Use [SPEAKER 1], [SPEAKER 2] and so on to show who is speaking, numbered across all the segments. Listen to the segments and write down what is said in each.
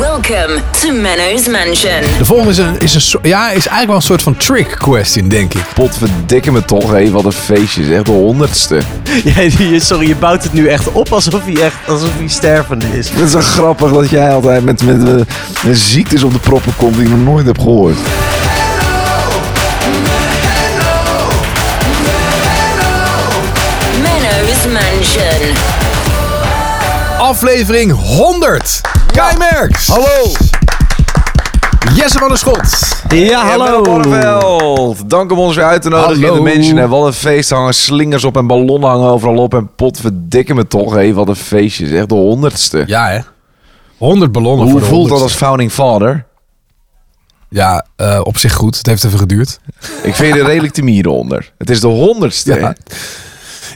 [SPEAKER 1] Welcome to Menno's Mansion.
[SPEAKER 2] De volgende is, een, is, een, so- ja, is eigenlijk wel een soort van trick question, denk ik.
[SPEAKER 3] Potverdikke me toch, hé, wat een feestje, zeg. De honderdste.
[SPEAKER 4] Ja, sorry, je bouwt het nu echt op alsof hij, echt, alsof hij stervende is.
[SPEAKER 3] Het is zo grappig dat jij altijd met, met, eh, met ziektes op de proppen komt die ik nog nooit heb gehoord.
[SPEAKER 1] Menno's Mansion.
[SPEAKER 2] Aflevering 100. Kai Merks.
[SPEAKER 3] Hallo!
[SPEAKER 2] Jesse van der Schot.
[SPEAKER 4] Ja, hallo.
[SPEAKER 3] Barneveld. Dank om ons weer uit te nodigen
[SPEAKER 2] Hallo.
[SPEAKER 3] in de Mansion. En wat een feest. Er hangen slingers op en ballonnen hangen overal op. En potverdikke me toch, hé, wat een feestje, zeg. De honderdste.
[SPEAKER 2] Ja, hè? 100 ballonnen
[SPEAKER 3] Hoe
[SPEAKER 2] voor de
[SPEAKER 3] voelt dat
[SPEAKER 2] 100ste.
[SPEAKER 3] als founding father?
[SPEAKER 2] Ja, eh, op zich goed. Het heeft even geduurd.
[SPEAKER 3] Ik vind je er redelijk te mieren onder. Het is de honderdste. hè?
[SPEAKER 2] Ja.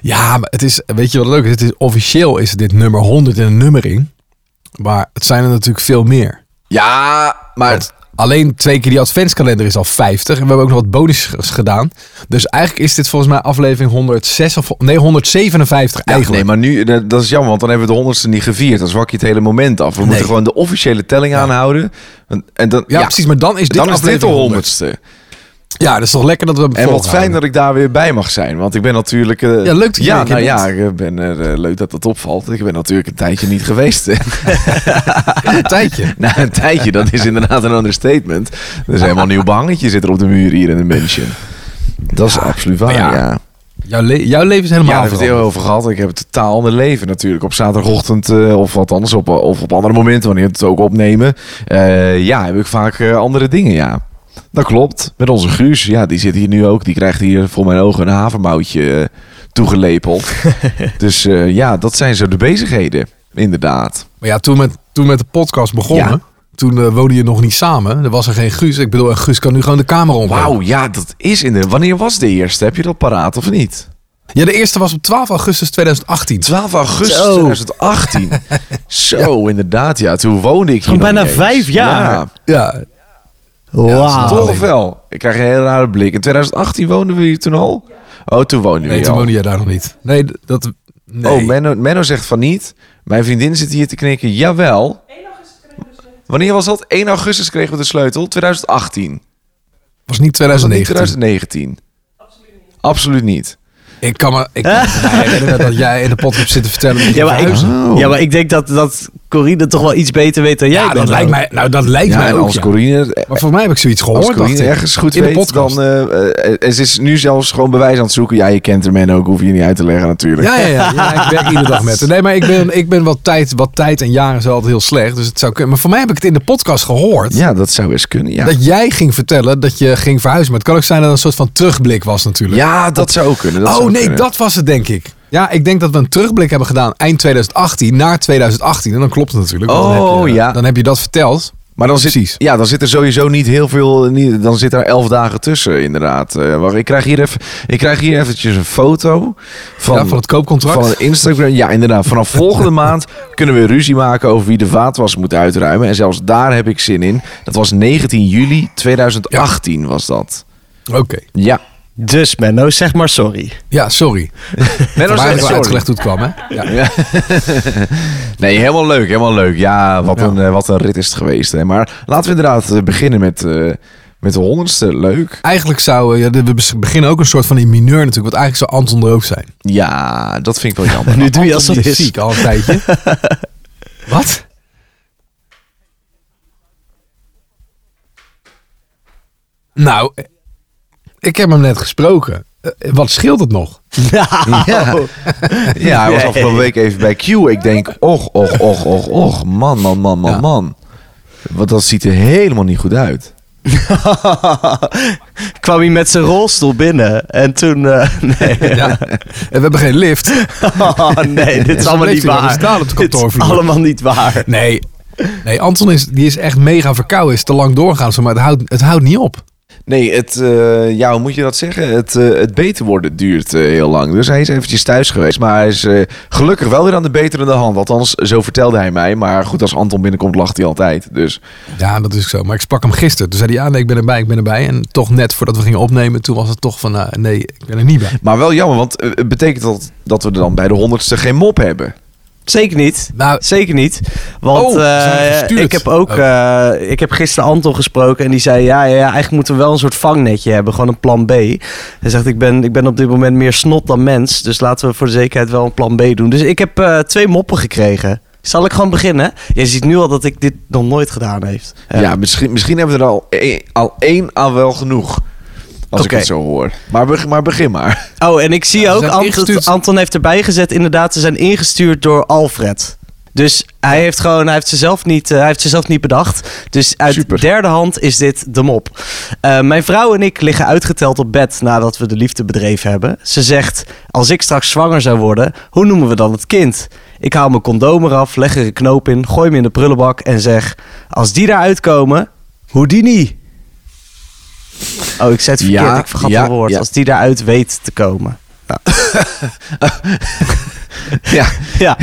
[SPEAKER 2] Ja, maar het is, weet je wat leuk is? Het is? Officieel is dit nummer 100 in een nummering. Maar het zijn er natuurlijk veel meer.
[SPEAKER 3] Ja, maar...
[SPEAKER 2] Want alleen twee keer die adventskalender is al 50. En we hebben ook nog wat bonus gedaan. Dus eigenlijk is dit volgens mij aflevering 106 of nee, 157
[SPEAKER 3] Ja,
[SPEAKER 2] eigenlijk.
[SPEAKER 3] nee, maar nu, eh, dat, dat is jammer, want dan hebben we de honderdste niet gevierd. Dan zwak je het hele moment af. We moeten gewoon de officiële telling aanhouden. En, en dan,
[SPEAKER 2] Ja, precies, maar dan is dit
[SPEAKER 3] dan is dit de
[SPEAKER 2] aflevering 100.
[SPEAKER 3] honderdste.
[SPEAKER 2] Ja, dat is toch lekker dat we hem
[SPEAKER 3] En wat
[SPEAKER 2] volhouden.
[SPEAKER 3] fijn dat ik daar weer bij mag zijn. Want ik ben natuurlijk... eh,
[SPEAKER 2] Ja, leuk dat je er
[SPEAKER 3] Ja,
[SPEAKER 2] een keer
[SPEAKER 3] nou ja,
[SPEAKER 2] bent.
[SPEAKER 3] ik ben er, eh, leuk dat dat opvalt. Ik ben natuurlijk een tijdje niet geweest.
[SPEAKER 2] een tijdje.
[SPEAKER 3] nou, een tijdje, dat is inderdaad een understatement. Er is helemaal een nieuw behangetje zit er op de muur hier in de mansion. Dat is absoluut waar,
[SPEAKER 2] maar ja.
[SPEAKER 3] ja.
[SPEAKER 2] Jouw, le- jouw leven is
[SPEAKER 3] Ja,
[SPEAKER 2] helemaal
[SPEAKER 3] daar hebben we het
[SPEAKER 2] veranderd.
[SPEAKER 3] heel over gehad. Ik heb het totaal ander leven natuurlijk. Op zaterdagochtend eh, of wat anders. Op, of op andere momenten, wanneer we het ook opnemen. eh, ja, heb ik vaak eh, andere dingen, ja. Dat klopt. Met onze Guus. Ja, die zit hier nu ook. Die krijgt hier voor mijn ogen een havermoutje eh, toegelepeld. dus eh, ja, dat zijn zo de bezigheden. Inderdaad.
[SPEAKER 2] Maar ja, toen met, toen met de podcast begonnen,
[SPEAKER 3] Ja.
[SPEAKER 2] toen eh, woonde je nog niet samen. Er was er geen Guus. Ik bedoel, en Guus kan nu gewoon de kamer omhoog.
[SPEAKER 3] Wauw, ja, dat is inderdaad. Wanneer was de eerste? Heb je dat paraat of niet?
[SPEAKER 2] Ja, de eerste was op 12 augustus 2018.
[SPEAKER 3] 12 augustus
[SPEAKER 2] Zo.
[SPEAKER 3] 2018. Zo, inderdaad. Ja, toen woonde ik hier
[SPEAKER 4] Gewoon
[SPEAKER 3] nog
[SPEAKER 4] bijna
[SPEAKER 3] niet eens.
[SPEAKER 4] vijf jaar.
[SPEAKER 3] Ja.
[SPEAKER 2] Ja,
[SPEAKER 4] Wauw.
[SPEAKER 3] Toch of wel? Ik krijg een hele rare blik. In 2018 woonden we hier toen al? Oh, toen woonden we
[SPEAKER 2] nee,
[SPEAKER 3] hier
[SPEAKER 2] toen
[SPEAKER 3] al.
[SPEAKER 2] woonde jij daar nog niet. Nee, d- dat... Nee.
[SPEAKER 3] Oh, Menno, Menno zegt van niet. Mijn vriendin zit hier te knikken. Jawel. Wanneer was dat? 1 augustus kregen we de sleutel. 2018.
[SPEAKER 2] was niet
[SPEAKER 3] Was dat
[SPEAKER 2] 2019.
[SPEAKER 3] niet 2019? Absoluut niet.
[SPEAKER 2] Ik kan me ik kan me herinneren dat jij in de pot hebt zitten vertellen. dat je
[SPEAKER 4] Ja maar, ik,
[SPEAKER 2] verhuisde.
[SPEAKER 3] Oh.
[SPEAKER 4] ja, maar ik denk dat, dat Corine toch wel iets beter weet dan jij.
[SPEAKER 2] Ja, dat
[SPEAKER 4] Menno.
[SPEAKER 2] lijkt mij, nou, dat lijkt
[SPEAKER 3] Ja,
[SPEAKER 2] mij
[SPEAKER 3] en
[SPEAKER 2] ook.
[SPEAKER 3] als
[SPEAKER 2] ja.
[SPEAKER 3] Corine,
[SPEAKER 2] Maar voor mij heb ik zoiets gehoord.
[SPEAKER 3] als Corine
[SPEAKER 2] dacht ik.
[SPEAKER 3] ergens goed
[SPEAKER 2] in de
[SPEAKER 3] weet,
[SPEAKER 2] podcast.
[SPEAKER 3] dan... eh, eh, en ze is nu zelfs gewoon bewijs aan het zoeken. Ja, je kent haar Menno ook. Hoef je niet uit te leggen natuurlijk.
[SPEAKER 2] Ja, ja, ja, ja, ik werk iedere dag met haar. Nee, maar ik ben, ik ben wat, tijd, wat tijd en jaren zo altijd heel slecht. Dus het zou kunnen. Maar voor mij heb ik het in de podcast gehoord.
[SPEAKER 3] Ja, dat zou eens kunnen, ja.
[SPEAKER 2] Dat jij ging vertellen dat je ging verhuizen. Maar het kan ook zijn dat het een soort van terugblik was natuurlijk.
[SPEAKER 3] Ja, dat zou ook kunnen. Dat
[SPEAKER 2] oh
[SPEAKER 3] zou
[SPEAKER 2] nee,
[SPEAKER 3] kunnen.
[SPEAKER 2] dat was het denk ik. Ja, ik denk dat we een terugblik hebben gedaan eind 2018 naar 2018. En dan klopt het natuurlijk. want dan
[SPEAKER 3] Oh,
[SPEAKER 2] heb je,
[SPEAKER 3] ja.
[SPEAKER 2] Dan heb je dat verteld.
[SPEAKER 3] Maar dan zit,
[SPEAKER 2] Precies.
[SPEAKER 3] Ja, dan zit er sowieso niet heel veel. Niet, dan zit er elf dagen tussen, inderdaad. Eh, wacht, ik, krijg hier even, ik krijg hier eventjes een foto van,
[SPEAKER 2] ja, van het koopcontract.
[SPEAKER 3] van een Instagram. Ja, inderdaad. Vanaf volgende maand kunnen we ruzie maken over wie de vaatwas moet uitruimen. En zelfs daar heb ik zin in. Dat was 19 juli 2018 was dat.
[SPEAKER 2] Oké.
[SPEAKER 3] Ja.
[SPEAKER 4] Dus Menno, zeg maar sorry.
[SPEAKER 2] Ja, sorry.
[SPEAKER 3] Menno
[SPEAKER 2] Maar
[SPEAKER 3] zegt
[SPEAKER 2] eigenlijk wel
[SPEAKER 3] sorry.
[SPEAKER 2] uitgelegd hoe het kwam, hè? Ja.
[SPEAKER 3] Nee, helemaal leuk, helemaal leuk. Ja, wat, Een, eh, wat een rit is het geweest. Hè. Maar laten we inderdaad eh, beginnen met, eh, met de honderdste. Leuk.
[SPEAKER 2] Eigenlijk zou... eh, Ja, we bes- beginnen ook een soort van in mineur natuurlijk. Want eigenlijk zou Anton er ook zijn.
[SPEAKER 3] Ja, dat vind ik wel jammer.
[SPEAKER 4] Nu doe je alsof
[SPEAKER 2] Anton
[SPEAKER 4] het
[SPEAKER 2] die
[SPEAKER 4] is.
[SPEAKER 2] is ziek al een tijdje. Wat? Nou, ik heb hem net gesproken. Eh, Wat scheelt het nog?
[SPEAKER 3] Ja. ja, hij was
[SPEAKER 4] Nee.
[SPEAKER 3] afgelopen week even bij Q. Ik denk, och, och, och, och, och. Man, man, man, man,
[SPEAKER 2] Ja.
[SPEAKER 3] man. Want dat ziet er helemaal niet goed uit.
[SPEAKER 4] Kwam hij met zijn rolstoel binnen en toen... eh, nee.
[SPEAKER 2] Ja. En we hebben geen lift.
[SPEAKER 4] Oh, nee, dit is
[SPEAKER 2] Zo
[SPEAKER 4] allemaal
[SPEAKER 2] bleef hij
[SPEAKER 4] niet
[SPEAKER 2] nog eens
[SPEAKER 4] waar.
[SPEAKER 2] staan op de
[SPEAKER 4] dit is
[SPEAKER 2] kantoorvloer.
[SPEAKER 4] allemaal niet waar.
[SPEAKER 2] Nee. Nee, Anton is, die is echt mega verkouden. Is te lang doorgaan. zo, Maar het houdt, het houdt niet op.
[SPEAKER 3] Nee, het, eh, ja, hoe moet je dat zeggen? Het, eh, het beter worden duurt eh, heel lang. Dus hij is eventjes thuis geweest. Maar hij is eh, gelukkig wel weer aan de beterende hand. Althans, zo vertelde hij mij. Maar goed, als Anton binnenkomt, lacht hij altijd. Dus
[SPEAKER 2] Ja, dat is ook zo. Maar ik sprak hem gisteren. Toen zei hij, ja, nee, ik ben erbij, ik ben erbij. En toch net voordat we gingen opnemen, toen was het toch van, eh, nee, ik ben er niet bij.
[SPEAKER 3] Maar wel jammer, want eh, het betekent dat, dat we dan bij de honderdste geen mop hebben.
[SPEAKER 4] Zeker niet.
[SPEAKER 2] Nou,
[SPEAKER 4] Zeker niet. Want
[SPEAKER 2] Oh,
[SPEAKER 4] eh,
[SPEAKER 2] zijn gestuurd.
[SPEAKER 4] ik heb ook.
[SPEAKER 2] Oh.
[SPEAKER 4] eh, ik heb gisteren Anton gesproken en die zei: ja, ja, ja, eigenlijk moeten we wel een soort vangnetje hebben. Gewoon een plan B. Hij zegt: ik ben, ik ben op dit moment meer snot dan mens. Dus laten we voor de zekerheid wel een plan B doen. Dus ik heb eh, twee moppen gekregen. Zal ik gewoon beginnen? Je ziet nu al dat ik dit nog nooit gedaan heeft.
[SPEAKER 3] Ja, misschien, misschien hebben we er al, één- al één aan wel genoeg. Als ik
[SPEAKER 4] Oké.
[SPEAKER 3] het zo hoor. Maar, beg- maar begin maar.
[SPEAKER 4] Oh, en ik zie
[SPEAKER 2] Ja, ze
[SPEAKER 4] ook,
[SPEAKER 2] zijn
[SPEAKER 4] Anton,
[SPEAKER 2] ingestuurd.
[SPEAKER 4] Anton heeft erbij gezet, inderdaad, ze zijn ingestuurd door Alfred. Dus hij heeft gewoon, hij heeft ze zelf niet, eh, hij heeft ze zelf niet bedacht. Dus uit
[SPEAKER 3] Super.
[SPEAKER 4] derde hand is dit de mop. Eh, mijn vrouw en ik liggen uitgeteld op bed nadat we de liefde bedreven hebben. Ze zegt, als ik straks zwanger zou worden, hoe noemen we dan het kind? Ik haal mijn condoom eraf, leg er een knoop in, gooi hem in de prullenbak en zeg, als die daaruit komen, Houdini. Oh, ik zei het verkeerd,
[SPEAKER 3] Ja,
[SPEAKER 4] ik vergat
[SPEAKER 3] ja,
[SPEAKER 4] een woord.
[SPEAKER 3] ja.
[SPEAKER 4] Als die daaruit weet te komen.
[SPEAKER 3] Ja,
[SPEAKER 4] Ja,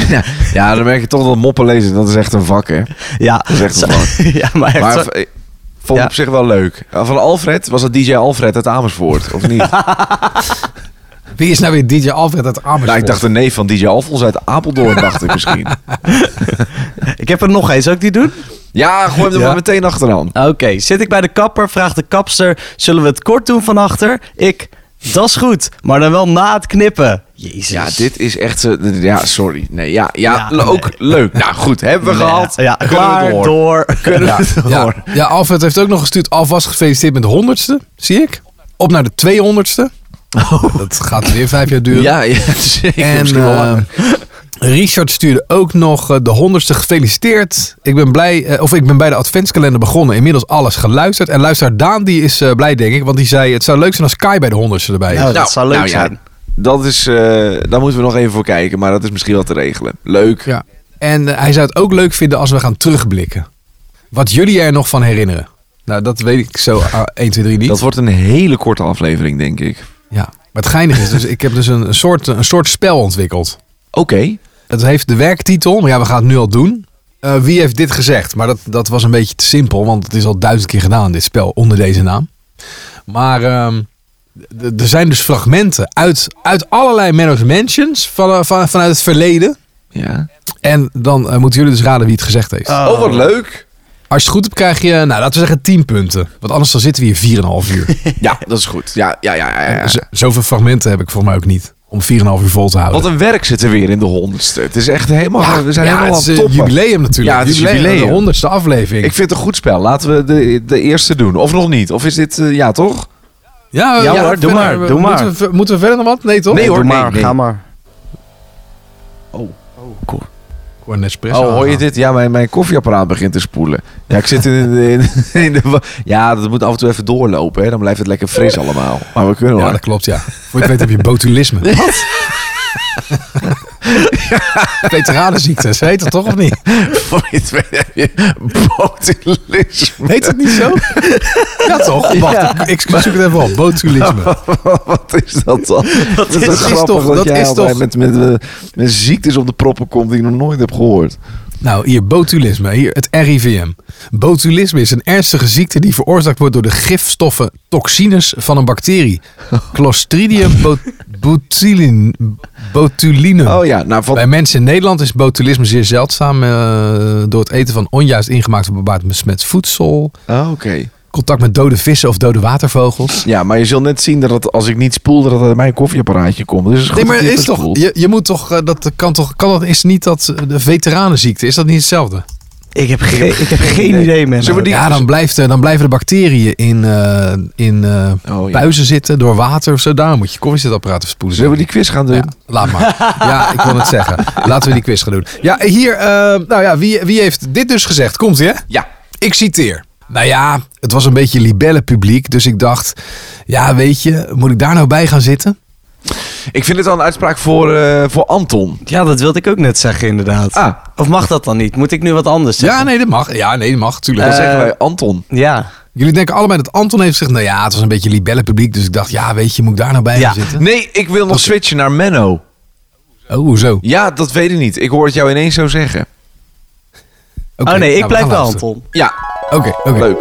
[SPEAKER 3] ja. ja, dan merk je toch dat moppen lezen, dat is echt een vak, hè?
[SPEAKER 4] ja.
[SPEAKER 3] Dat is echt een vak.
[SPEAKER 4] ja, maar echt
[SPEAKER 3] Maar
[SPEAKER 4] zo-
[SPEAKER 3] v- ik vond
[SPEAKER 4] Ja.
[SPEAKER 3] op zich wel leuk. Eh, Van Alfred, was dat DJ Alfred uit Amersfoort, of niet? Nou,
[SPEAKER 2] Wie is nou weer DJ Alfred uit Amersfoort?
[SPEAKER 3] nou, ik dacht een neef van DJ Alfons uit Apeldoorn, dacht ik misschien.
[SPEAKER 4] Ik heb er nog één, zou ik die doen?
[SPEAKER 3] Ja, gooi hem er
[SPEAKER 2] Ja.
[SPEAKER 3] maar meteen achteraan.
[SPEAKER 4] Oké, zit ik bij de kapper, vraagt de kapster, zullen we het kort doen van achter? Ik, dat is goed, maar dan wel na het knippen. Jezus.
[SPEAKER 3] Ja, dit is echt... zo- Ja, sorry. Nee, ja, ja,
[SPEAKER 4] Ja,
[SPEAKER 3] ook leuk. Nou goed, hebben we
[SPEAKER 4] Ja,
[SPEAKER 3] gehad.
[SPEAKER 4] Ja,
[SPEAKER 3] Kunnen we
[SPEAKER 4] klaar,
[SPEAKER 3] door.
[SPEAKER 4] door.
[SPEAKER 2] ja, ja, ja, Alfred heeft ook nog gestuurd. Alvast gefeliciteerd met de honderdste, zie ik. Op naar de 200ste. Dat gaat weer vijf jaar duren.
[SPEAKER 3] Oh. Ja, ja, zeker.
[SPEAKER 2] en
[SPEAKER 3] Misschien wel Nou, langer.
[SPEAKER 2] eh, Richard stuurde ook nog eh, de honderdste gefeliciteerd. Ik ben blij, eh, of ik ben bij de adventskalender begonnen. Inmiddels alles geluisterd. En luisteraar Daan die is eh, blij denk ik, want die zei het zou leuk zijn als Kai bij de honderdste erbij is.
[SPEAKER 4] Nou, dat
[SPEAKER 3] Nou,
[SPEAKER 4] zou leuk
[SPEAKER 3] nou ja.
[SPEAKER 4] zijn.
[SPEAKER 3] Dat is, eh, daar moeten we nog even voor kijken, maar dat is misschien wel te regelen. Leuk.
[SPEAKER 2] Ja. En eh, hij zou het ook leuk vinden als we gaan terugblikken. Wat jullie er nog van herinneren. Nou, dat weet ik zo ah, 1, 2, 3 niet.
[SPEAKER 3] Dat wordt een hele korte aflevering, denk ik.
[SPEAKER 2] Ja. Maar het geinige is, dus, ik heb dus een, een, soort, een soort spel ontwikkeld.
[SPEAKER 3] Oké.
[SPEAKER 2] Het heeft de werktitel, maar ja, we gaan het nu al doen. Eh, wie heeft dit gezegd? Maar dat, dat was een beetje te simpel, want het is al duizend keer gedaan, dit spel, onder deze naam. Maar ehm, d- d- er zijn dus fragmenten uit, uit allerlei Menno's Mansions van, eh, van, vanuit het verleden.
[SPEAKER 3] Ja.
[SPEAKER 2] En dan eh, moeten jullie dus raden wie het gezegd heeft.
[SPEAKER 3] Oh. wat leuk.
[SPEAKER 2] Als je het goed hebt, krijg je, nou, laten we zeggen 10 punten. Want anders dan zitten we hier 4,5 uur.
[SPEAKER 3] Ja, dat is goed. Ja, ja, ja. ja, ja.
[SPEAKER 2] Z- zoveel fragmenten heb ik volgens mij ook niet. Om 4,5 uur vol te houden.
[SPEAKER 3] Wat een werk zit er weer in de honderdste. Het is echt helemaal... we zijn
[SPEAKER 2] ja,
[SPEAKER 3] helemaal
[SPEAKER 2] het is
[SPEAKER 3] aan Ah, het
[SPEAKER 2] een
[SPEAKER 3] toppen.
[SPEAKER 2] jubileum natuurlijk.
[SPEAKER 3] Ja, het is jubileum.
[SPEAKER 2] De honderdste aflevering.
[SPEAKER 3] Ik vind het een goed spel. Laten we de, de eerste doen. Of nog niet. Of is dit... eh, ja, toch?
[SPEAKER 2] Ja,
[SPEAKER 4] Ja hoor, doe
[SPEAKER 2] verder.
[SPEAKER 4] maar, doe maar.
[SPEAKER 2] Moeten we, ver- moeten we verder nog wat? Nee toch?
[SPEAKER 3] Nee, hoor,
[SPEAKER 4] Doe
[SPEAKER 3] nee,
[SPEAKER 4] maar,
[SPEAKER 3] nee.
[SPEAKER 4] ga maar.
[SPEAKER 2] Ik hoor een espresso
[SPEAKER 3] Oh, hoor je
[SPEAKER 2] aangaan.
[SPEAKER 3] dit? Ja, mijn, mijn koffieapparaat begint te spoelen. Ja, ik zit in de... In, in de wa- ja, dat moet af en toe even doorlopen. Hè. Dan blijft het lekker fris allemaal. Maar we kunnen
[SPEAKER 2] Ja,
[SPEAKER 3] wel.
[SPEAKER 2] dat klopt, ja. Voor je het weet heb je botulisme. Wat? Veteranenziekte, ze heet het toch of niet?
[SPEAKER 3] Voor je het weet heb je botulisme.
[SPEAKER 2] Heet het niet zo? Ja toch? Wacht, ik, ik zoek het even op. Botulisme.
[SPEAKER 3] Wat is dat dan? Dat
[SPEAKER 2] is- dat is toch-
[SPEAKER 3] dat,
[SPEAKER 2] dat
[SPEAKER 3] jij
[SPEAKER 2] is
[SPEAKER 3] altijd
[SPEAKER 2] toch-
[SPEAKER 3] Met, met, eh, met ziektes op de proppen komt die ik nog nooit heb gehoord.
[SPEAKER 2] Nou, hier botulisme, hier het RIVM. Botulisme is een ernstige ziekte die veroorzaakt wordt door de gifstoffen toxines van een bacterie. Clostridium bot botulin- botulinum.
[SPEAKER 3] Oh ja, nou van...
[SPEAKER 2] Bij mensen in Nederland is botulisme zeer zeldzaam eh, door het eten van onjuist ingemaakt of bewaard besmet voedsel,
[SPEAKER 3] Ah, Oké.
[SPEAKER 2] contact met dode vissen of dode watervogels.
[SPEAKER 3] Ja, maar je zult net zien dat het, als ik niet spoel, dat het uit mijn koffieapparaatje komt. Dus het is goed
[SPEAKER 2] Nee, maar
[SPEAKER 3] dat je
[SPEAKER 2] is
[SPEAKER 3] het
[SPEAKER 2] toch,
[SPEAKER 3] spoelt.
[SPEAKER 2] je, je moet toch, eh, dat kan toch, kan dat is niet dat eh, de veteranenziekte, is dat niet hetzelfde?
[SPEAKER 4] Ik heb, geen- ik heb geen idee, man.
[SPEAKER 3] Zullen we die-
[SPEAKER 2] Ja, dan, blijft, eh, dan blijven de bacteriën in, eh, in eh,
[SPEAKER 3] Oh, ja.
[SPEAKER 2] buizen zitten door water of zo. Daar moet je koffiezetapparaat verspoelen.
[SPEAKER 3] Zullen we die quiz gaan doen?
[SPEAKER 2] Ja, laat maar. ja, ik wil het zeggen. Laten we die quiz gaan doen. Ja, hier, eh, nou ja, wie, wie heeft dit dus gezegd? Komt ie, hè?
[SPEAKER 3] Ja.
[SPEAKER 2] Ik citeer. Nou ja, het was een beetje libelle publiek, dus ik dacht, ja, weet je, moet ik daar nou bij gaan zitten?
[SPEAKER 3] Ik vind het wel een uitspraak voor, eh, voor Anton.
[SPEAKER 4] Ja, dat wilde ik ook net zeggen, inderdaad.
[SPEAKER 3] Ah.
[SPEAKER 4] Of mag dat dan niet? Moet ik nu wat anders zeggen?
[SPEAKER 2] Ja, nee, dat mag. Ja, nee, dat mag, tuurlijk.
[SPEAKER 3] Dan
[SPEAKER 2] Dat is echt-
[SPEAKER 3] zeggen wij Anton.
[SPEAKER 4] Ja.
[SPEAKER 2] Jullie denken allebei dat Anton heeft gezegd, nou ja, het was een beetje libelle publiek, dus ik dacht, ja, weet je, moet ik daar nou bij
[SPEAKER 4] Ja.
[SPEAKER 2] gaan zitten?
[SPEAKER 3] Nee, ik wil nog switchen naar Menno.
[SPEAKER 2] Oh, hoezo?
[SPEAKER 3] Ja, dat weet ik niet. Ik hoor het jou ineens zo zeggen.
[SPEAKER 2] Oké,
[SPEAKER 4] oh nee, ik
[SPEAKER 2] nou, we
[SPEAKER 4] blijf
[SPEAKER 2] gaan
[SPEAKER 4] bij
[SPEAKER 2] luisteren.
[SPEAKER 4] Anton.
[SPEAKER 3] Ja,
[SPEAKER 2] Oké, oké.
[SPEAKER 3] leuk.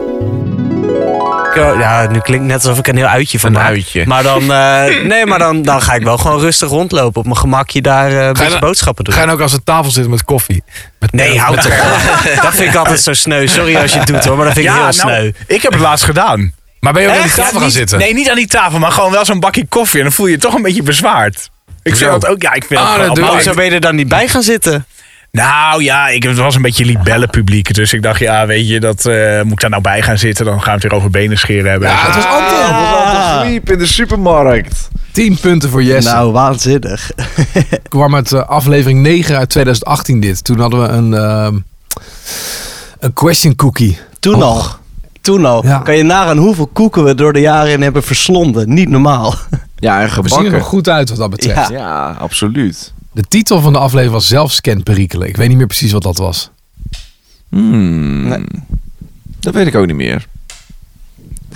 [SPEAKER 4] lekker... eh, Ja, nu klinkt net alsof ik een heel uitje van
[SPEAKER 5] Een
[SPEAKER 4] maak.
[SPEAKER 5] uitje.
[SPEAKER 4] Maar dan... eh, nee, maar dan, dan ga ik wel gewoon rustig rondlopen. Op mijn gemakje daar eh, een beetje
[SPEAKER 5] dan-
[SPEAKER 4] boodschappen doen.
[SPEAKER 2] Ga je nou ook als een tafel zitten met koffie? Met
[SPEAKER 4] Nee,
[SPEAKER 2] melk,
[SPEAKER 4] houd
[SPEAKER 2] met-
[SPEAKER 4] toch op. Dat vind ik altijd zo sneu. Sorry als je het doet hoor, maar dat vind ik heel sneu.
[SPEAKER 5] nou, ik heb het laatst gedaan.
[SPEAKER 2] Maar ben je ook aan die
[SPEAKER 5] Echt?
[SPEAKER 2] tafel gaan
[SPEAKER 5] Niet-
[SPEAKER 2] zitten?
[SPEAKER 5] Nee, niet aan die tafel, maar gewoon wel zo'n bakje koffie. En dan voel je je toch een beetje bezwaard. Ik
[SPEAKER 2] Zo.
[SPEAKER 5] vind dat ook, ja, ik vind
[SPEAKER 2] Ah,
[SPEAKER 5] dat
[SPEAKER 2] dat
[SPEAKER 5] gewoon
[SPEAKER 2] doe
[SPEAKER 4] Maar
[SPEAKER 2] ik.
[SPEAKER 5] apart.
[SPEAKER 4] hoezo ben je er dan niet bij gaan zitten?
[SPEAKER 5] Nou ja, ik, het was een beetje libellenpubliek. Dus ik dacht, ja, weet je, dat eh, moet ik daar nou bij gaan zitten? Dan gaan we het weer over benen scheren hebben. en zo.
[SPEAKER 3] Het was Anton. Het was
[SPEAKER 2] Ah.
[SPEAKER 3] Anton Sweep in de supermarkt.
[SPEAKER 2] 10 punten voor Jesse.
[SPEAKER 4] Nou, waanzinnig.
[SPEAKER 2] kwam uit eh, aflevering 9 uit 2018 dit. Toen hadden we een, ehm, een question cookie.
[SPEAKER 4] Toen
[SPEAKER 2] Oh.
[SPEAKER 4] al. Toen al.
[SPEAKER 2] Ja.
[SPEAKER 4] Kan je nagaan hoeveel koeken we door de jaren in hebben verslonden. Niet normaal.
[SPEAKER 3] Ja, en
[SPEAKER 2] We zien er wel
[SPEAKER 3] gebakken.
[SPEAKER 2] goed uit wat dat betreft.
[SPEAKER 4] Ja.
[SPEAKER 3] Ja, absoluut.
[SPEAKER 2] De titel van de aflevering was Zelfscan perikelen. Ik weet niet meer precies wat dat was.
[SPEAKER 3] Hmm.
[SPEAKER 4] Nee.
[SPEAKER 3] Dat weet ik ook niet meer.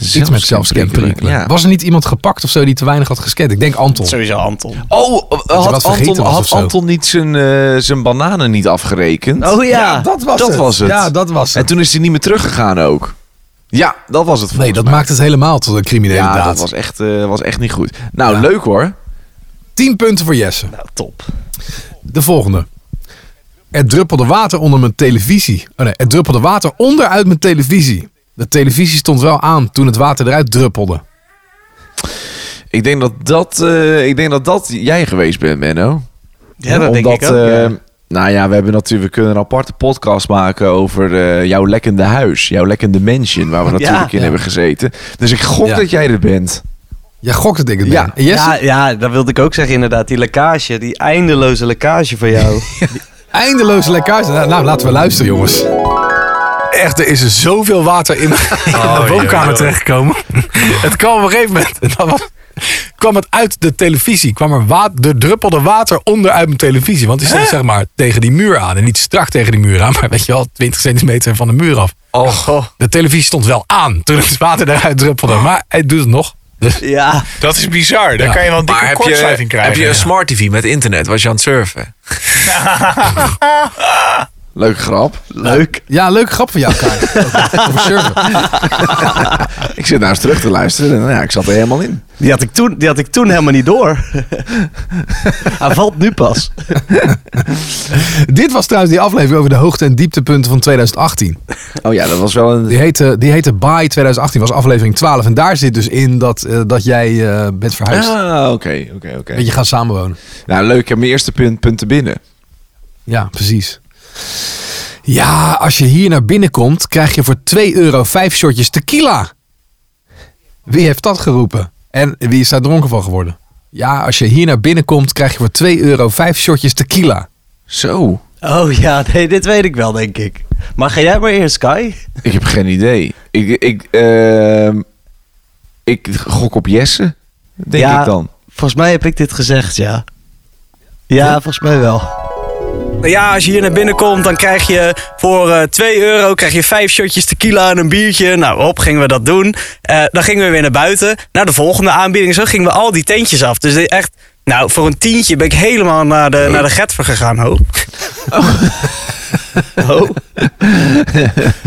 [SPEAKER 2] Iets met zelfscan perikelen.
[SPEAKER 3] Ja.
[SPEAKER 2] Was er niet iemand gepakt of zo die te weinig had gescand? Ik denk Anton.
[SPEAKER 4] Sowieso Anton.
[SPEAKER 3] Oh,
[SPEAKER 2] wat
[SPEAKER 3] had
[SPEAKER 2] vergeten
[SPEAKER 3] Anton,
[SPEAKER 2] was of
[SPEAKER 3] had
[SPEAKER 2] zo.
[SPEAKER 3] Anton niet zijn, eh, zijn bananen niet afgerekend?
[SPEAKER 4] Oh ja.
[SPEAKER 3] dat was het.
[SPEAKER 2] Ja, dat was
[SPEAKER 3] En
[SPEAKER 2] het.
[SPEAKER 3] toen is hij niet meer teruggegaan ook. Ja, dat was het
[SPEAKER 2] nee,
[SPEAKER 3] volgens
[SPEAKER 2] dat
[SPEAKER 3] mij.
[SPEAKER 2] maakt het helemaal tot een criminele
[SPEAKER 3] Ja,
[SPEAKER 2] daad.
[SPEAKER 3] dat was echt, eh, was echt niet goed. Nou,
[SPEAKER 2] Ja.
[SPEAKER 3] leuk hoor.
[SPEAKER 2] 10 punten voor Jesse.
[SPEAKER 4] Nou, top.
[SPEAKER 2] De volgende. Er druppelde water onder mijn televisie. Oh nee, er druppelde water onderuit mijn televisie. De televisie stond wel aan toen het water eruit druppelde.
[SPEAKER 3] Ik denk dat dat, eh, ik denk dat, dat jij geweest bent, Menno.
[SPEAKER 4] Ja, dat
[SPEAKER 3] Omdat,
[SPEAKER 4] denk ik ook. ja.
[SPEAKER 3] eh, nou ja, we hebben natuurlijk we kunnen een aparte podcast maken over eh, jouw lekkende huis. Jouw lekkende mansion, waar we natuurlijk in
[SPEAKER 4] ja.
[SPEAKER 3] hebben gezeten. Dus ik gok
[SPEAKER 2] Ja.
[SPEAKER 3] dat jij er bent.
[SPEAKER 2] Jij gokt dat ik het
[SPEAKER 3] Ja.
[SPEAKER 2] ben. En Jesse,
[SPEAKER 4] Ja, ja, dat wilde ik ook zeggen inderdaad. Die lekkage, die eindeloze lekkage van jou.
[SPEAKER 2] eindeloze lekkage. Nou, nou, laten we luisteren, jongens. Oh, Echt, er is zoveel water in, in de woonkamer terechtgekomen. het kwam op een gegeven moment. en dan was- kwam het uit de televisie. Kwam er, wa- er druppelde water onderuit mijn televisie. Want die stond zeg maar tegen die muur aan. En niet strak tegen die muur aan, maar weet je wel, 20 centimeter van de muur af.
[SPEAKER 5] Oh,
[SPEAKER 2] De televisie stond wel aan toen het water eruit druppelde. Maar hij doet het nog. Dus
[SPEAKER 4] ja.
[SPEAKER 5] dat is bizar. Daar
[SPEAKER 2] Ja.
[SPEAKER 5] kan je wel een dikke
[SPEAKER 6] Maar heb je,
[SPEAKER 5] kortsluiting krijgen.
[SPEAKER 6] heb je een smart TV met internet? Was je aan het surfen?
[SPEAKER 3] Leuke grap.
[SPEAKER 4] Leuk.
[SPEAKER 2] ja, leuke grap van jou, Kai. Over surfen.
[SPEAKER 3] Ik zit naar eens terug te luisteren en nou ja, ik zat er helemaal in.
[SPEAKER 4] Die had ik toen, die had ik toen helemaal niet door. Hij valt nu pas.
[SPEAKER 2] Dit was trouwens die aflevering over de hoogte- en dieptepunten van 2018.
[SPEAKER 3] Oh ja, dat was wel een...
[SPEAKER 2] Die heette, die heette By 2018, was aflevering 12. En daar zit dus in dat, eh, dat jij eh, bent verhuisd.
[SPEAKER 3] Ah, oké, oké, oké.
[SPEAKER 2] Dat je gaat samenwonen.
[SPEAKER 3] Nou, leuk. Ik heb mijn eerste punt, punt te binnen.
[SPEAKER 2] Ja, precies. Ja, als je hier naar binnen komt, krijg je voor 2 euro 5 shotjes tequila. Wie heeft dat geroepen? En wie is daar dronken van geworden? Ja, als je hier naar binnen komt, krijg je voor 2 euro 5 shotjes tequila.
[SPEAKER 3] Zo.
[SPEAKER 4] Oh ja, nee, dit weet ik wel, denk ik. Maar ga jij maar eerst, Kai?
[SPEAKER 3] Ik heb geen idee. Ik, ik, ehm, ik gok op Jesse, denk
[SPEAKER 4] Ja.
[SPEAKER 3] ik dan.
[SPEAKER 4] Volgens mij heb ik dit gezegd, ja. Ja, volgens mij wel. Ja, als je hier naar binnen komt, dan krijg je voor eh 2 euro krijg je 5 shotjes tequila en een biertje. Nou, hop, gingen we dat doen. Eh, dan gingen we weer naar buiten, naar de volgende aanbieding. Zo gingen we al die tentjes af. Dus echt, nou, voor een tientje ben ik helemaal naar de, naar de Getver gegaan, ho. Oh.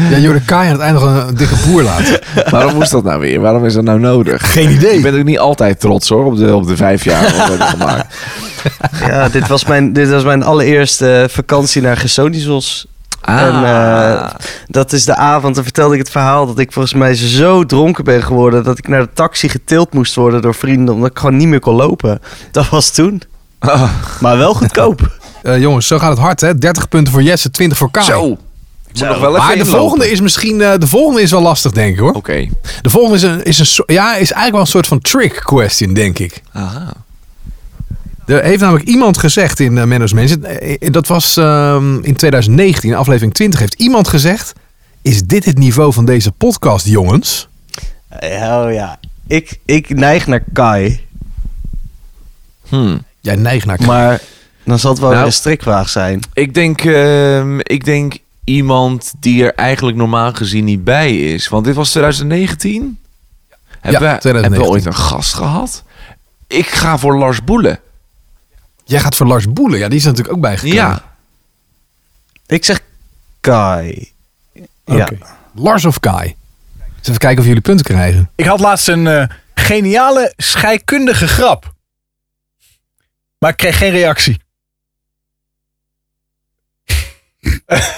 [SPEAKER 2] Ja, Jorde Kai aan het einde nog een, een dikke boer laten.
[SPEAKER 3] Waarom moest dat nou weer? Waarom is dat nou nodig?
[SPEAKER 2] Geen
[SPEAKER 3] Ik
[SPEAKER 2] idee.
[SPEAKER 3] ben ook niet altijd trots hoor, op de, op de vijf jaar wat we hebben gemaakt.
[SPEAKER 4] Ja, dit was mijn, dit was mijn allereerste eh, vakantie naar Gersonisos.
[SPEAKER 2] Ah.
[SPEAKER 4] En eh, dat is de avond, dan vertelde ik het verhaal dat ik volgens mij zo dronken ben geworden dat ik naar de taxi getild moest worden door vrienden omdat ik gewoon niet meer kon lopen. Dat was toen. Maar wel goedkoop.
[SPEAKER 2] Eh, jongens, zo gaat het hard hè. 30 punten voor Jesse, 20 voor Kai.
[SPEAKER 3] Zo. Ik moet nog wel even
[SPEAKER 2] Maar de
[SPEAKER 3] inlopen.
[SPEAKER 2] volgende is misschien, eh, de volgende is wel lastig denk ik hoor.
[SPEAKER 3] Oké.
[SPEAKER 2] De volgende is, een, is, een, so- ja, is eigenlijk wel een soort van trick question, denk ik.
[SPEAKER 3] Aha.
[SPEAKER 2] Er heeft namelijk iemand gezegd in eh, Menno's Mensen, eh, eh, dat was ehm, in 2019, in aflevering 20, heeft iemand gezegd... Is dit het niveau van deze podcast, jongens?
[SPEAKER 4] Oh ja. Ik, ik neig naar Kai,
[SPEAKER 3] Hmm.
[SPEAKER 2] Jij neigt naar...
[SPEAKER 4] maar dan zal het wel
[SPEAKER 3] Nou.
[SPEAKER 4] weer een strikwaag zijn.
[SPEAKER 3] Ik denk, ehm, ik denk iemand die er eigenlijk normaal gezien niet bij is. Want dit was 2019. Hebben, we,
[SPEAKER 2] 2019.
[SPEAKER 3] hebben we ooit een gast gehad? Ik ga voor Lars Boelen.
[SPEAKER 2] Jij gaat voor Lars Boelen. Ja, die is er natuurlijk ook bijgekomen.
[SPEAKER 3] Ja.
[SPEAKER 4] Ik zeg Kai.
[SPEAKER 2] Oké. Lars of Kai? Dus even kijken of jullie punten krijgen.
[SPEAKER 5] Ik had laatst een eh, geniale scheikundige grap. Maar ik kreeg geen reactie.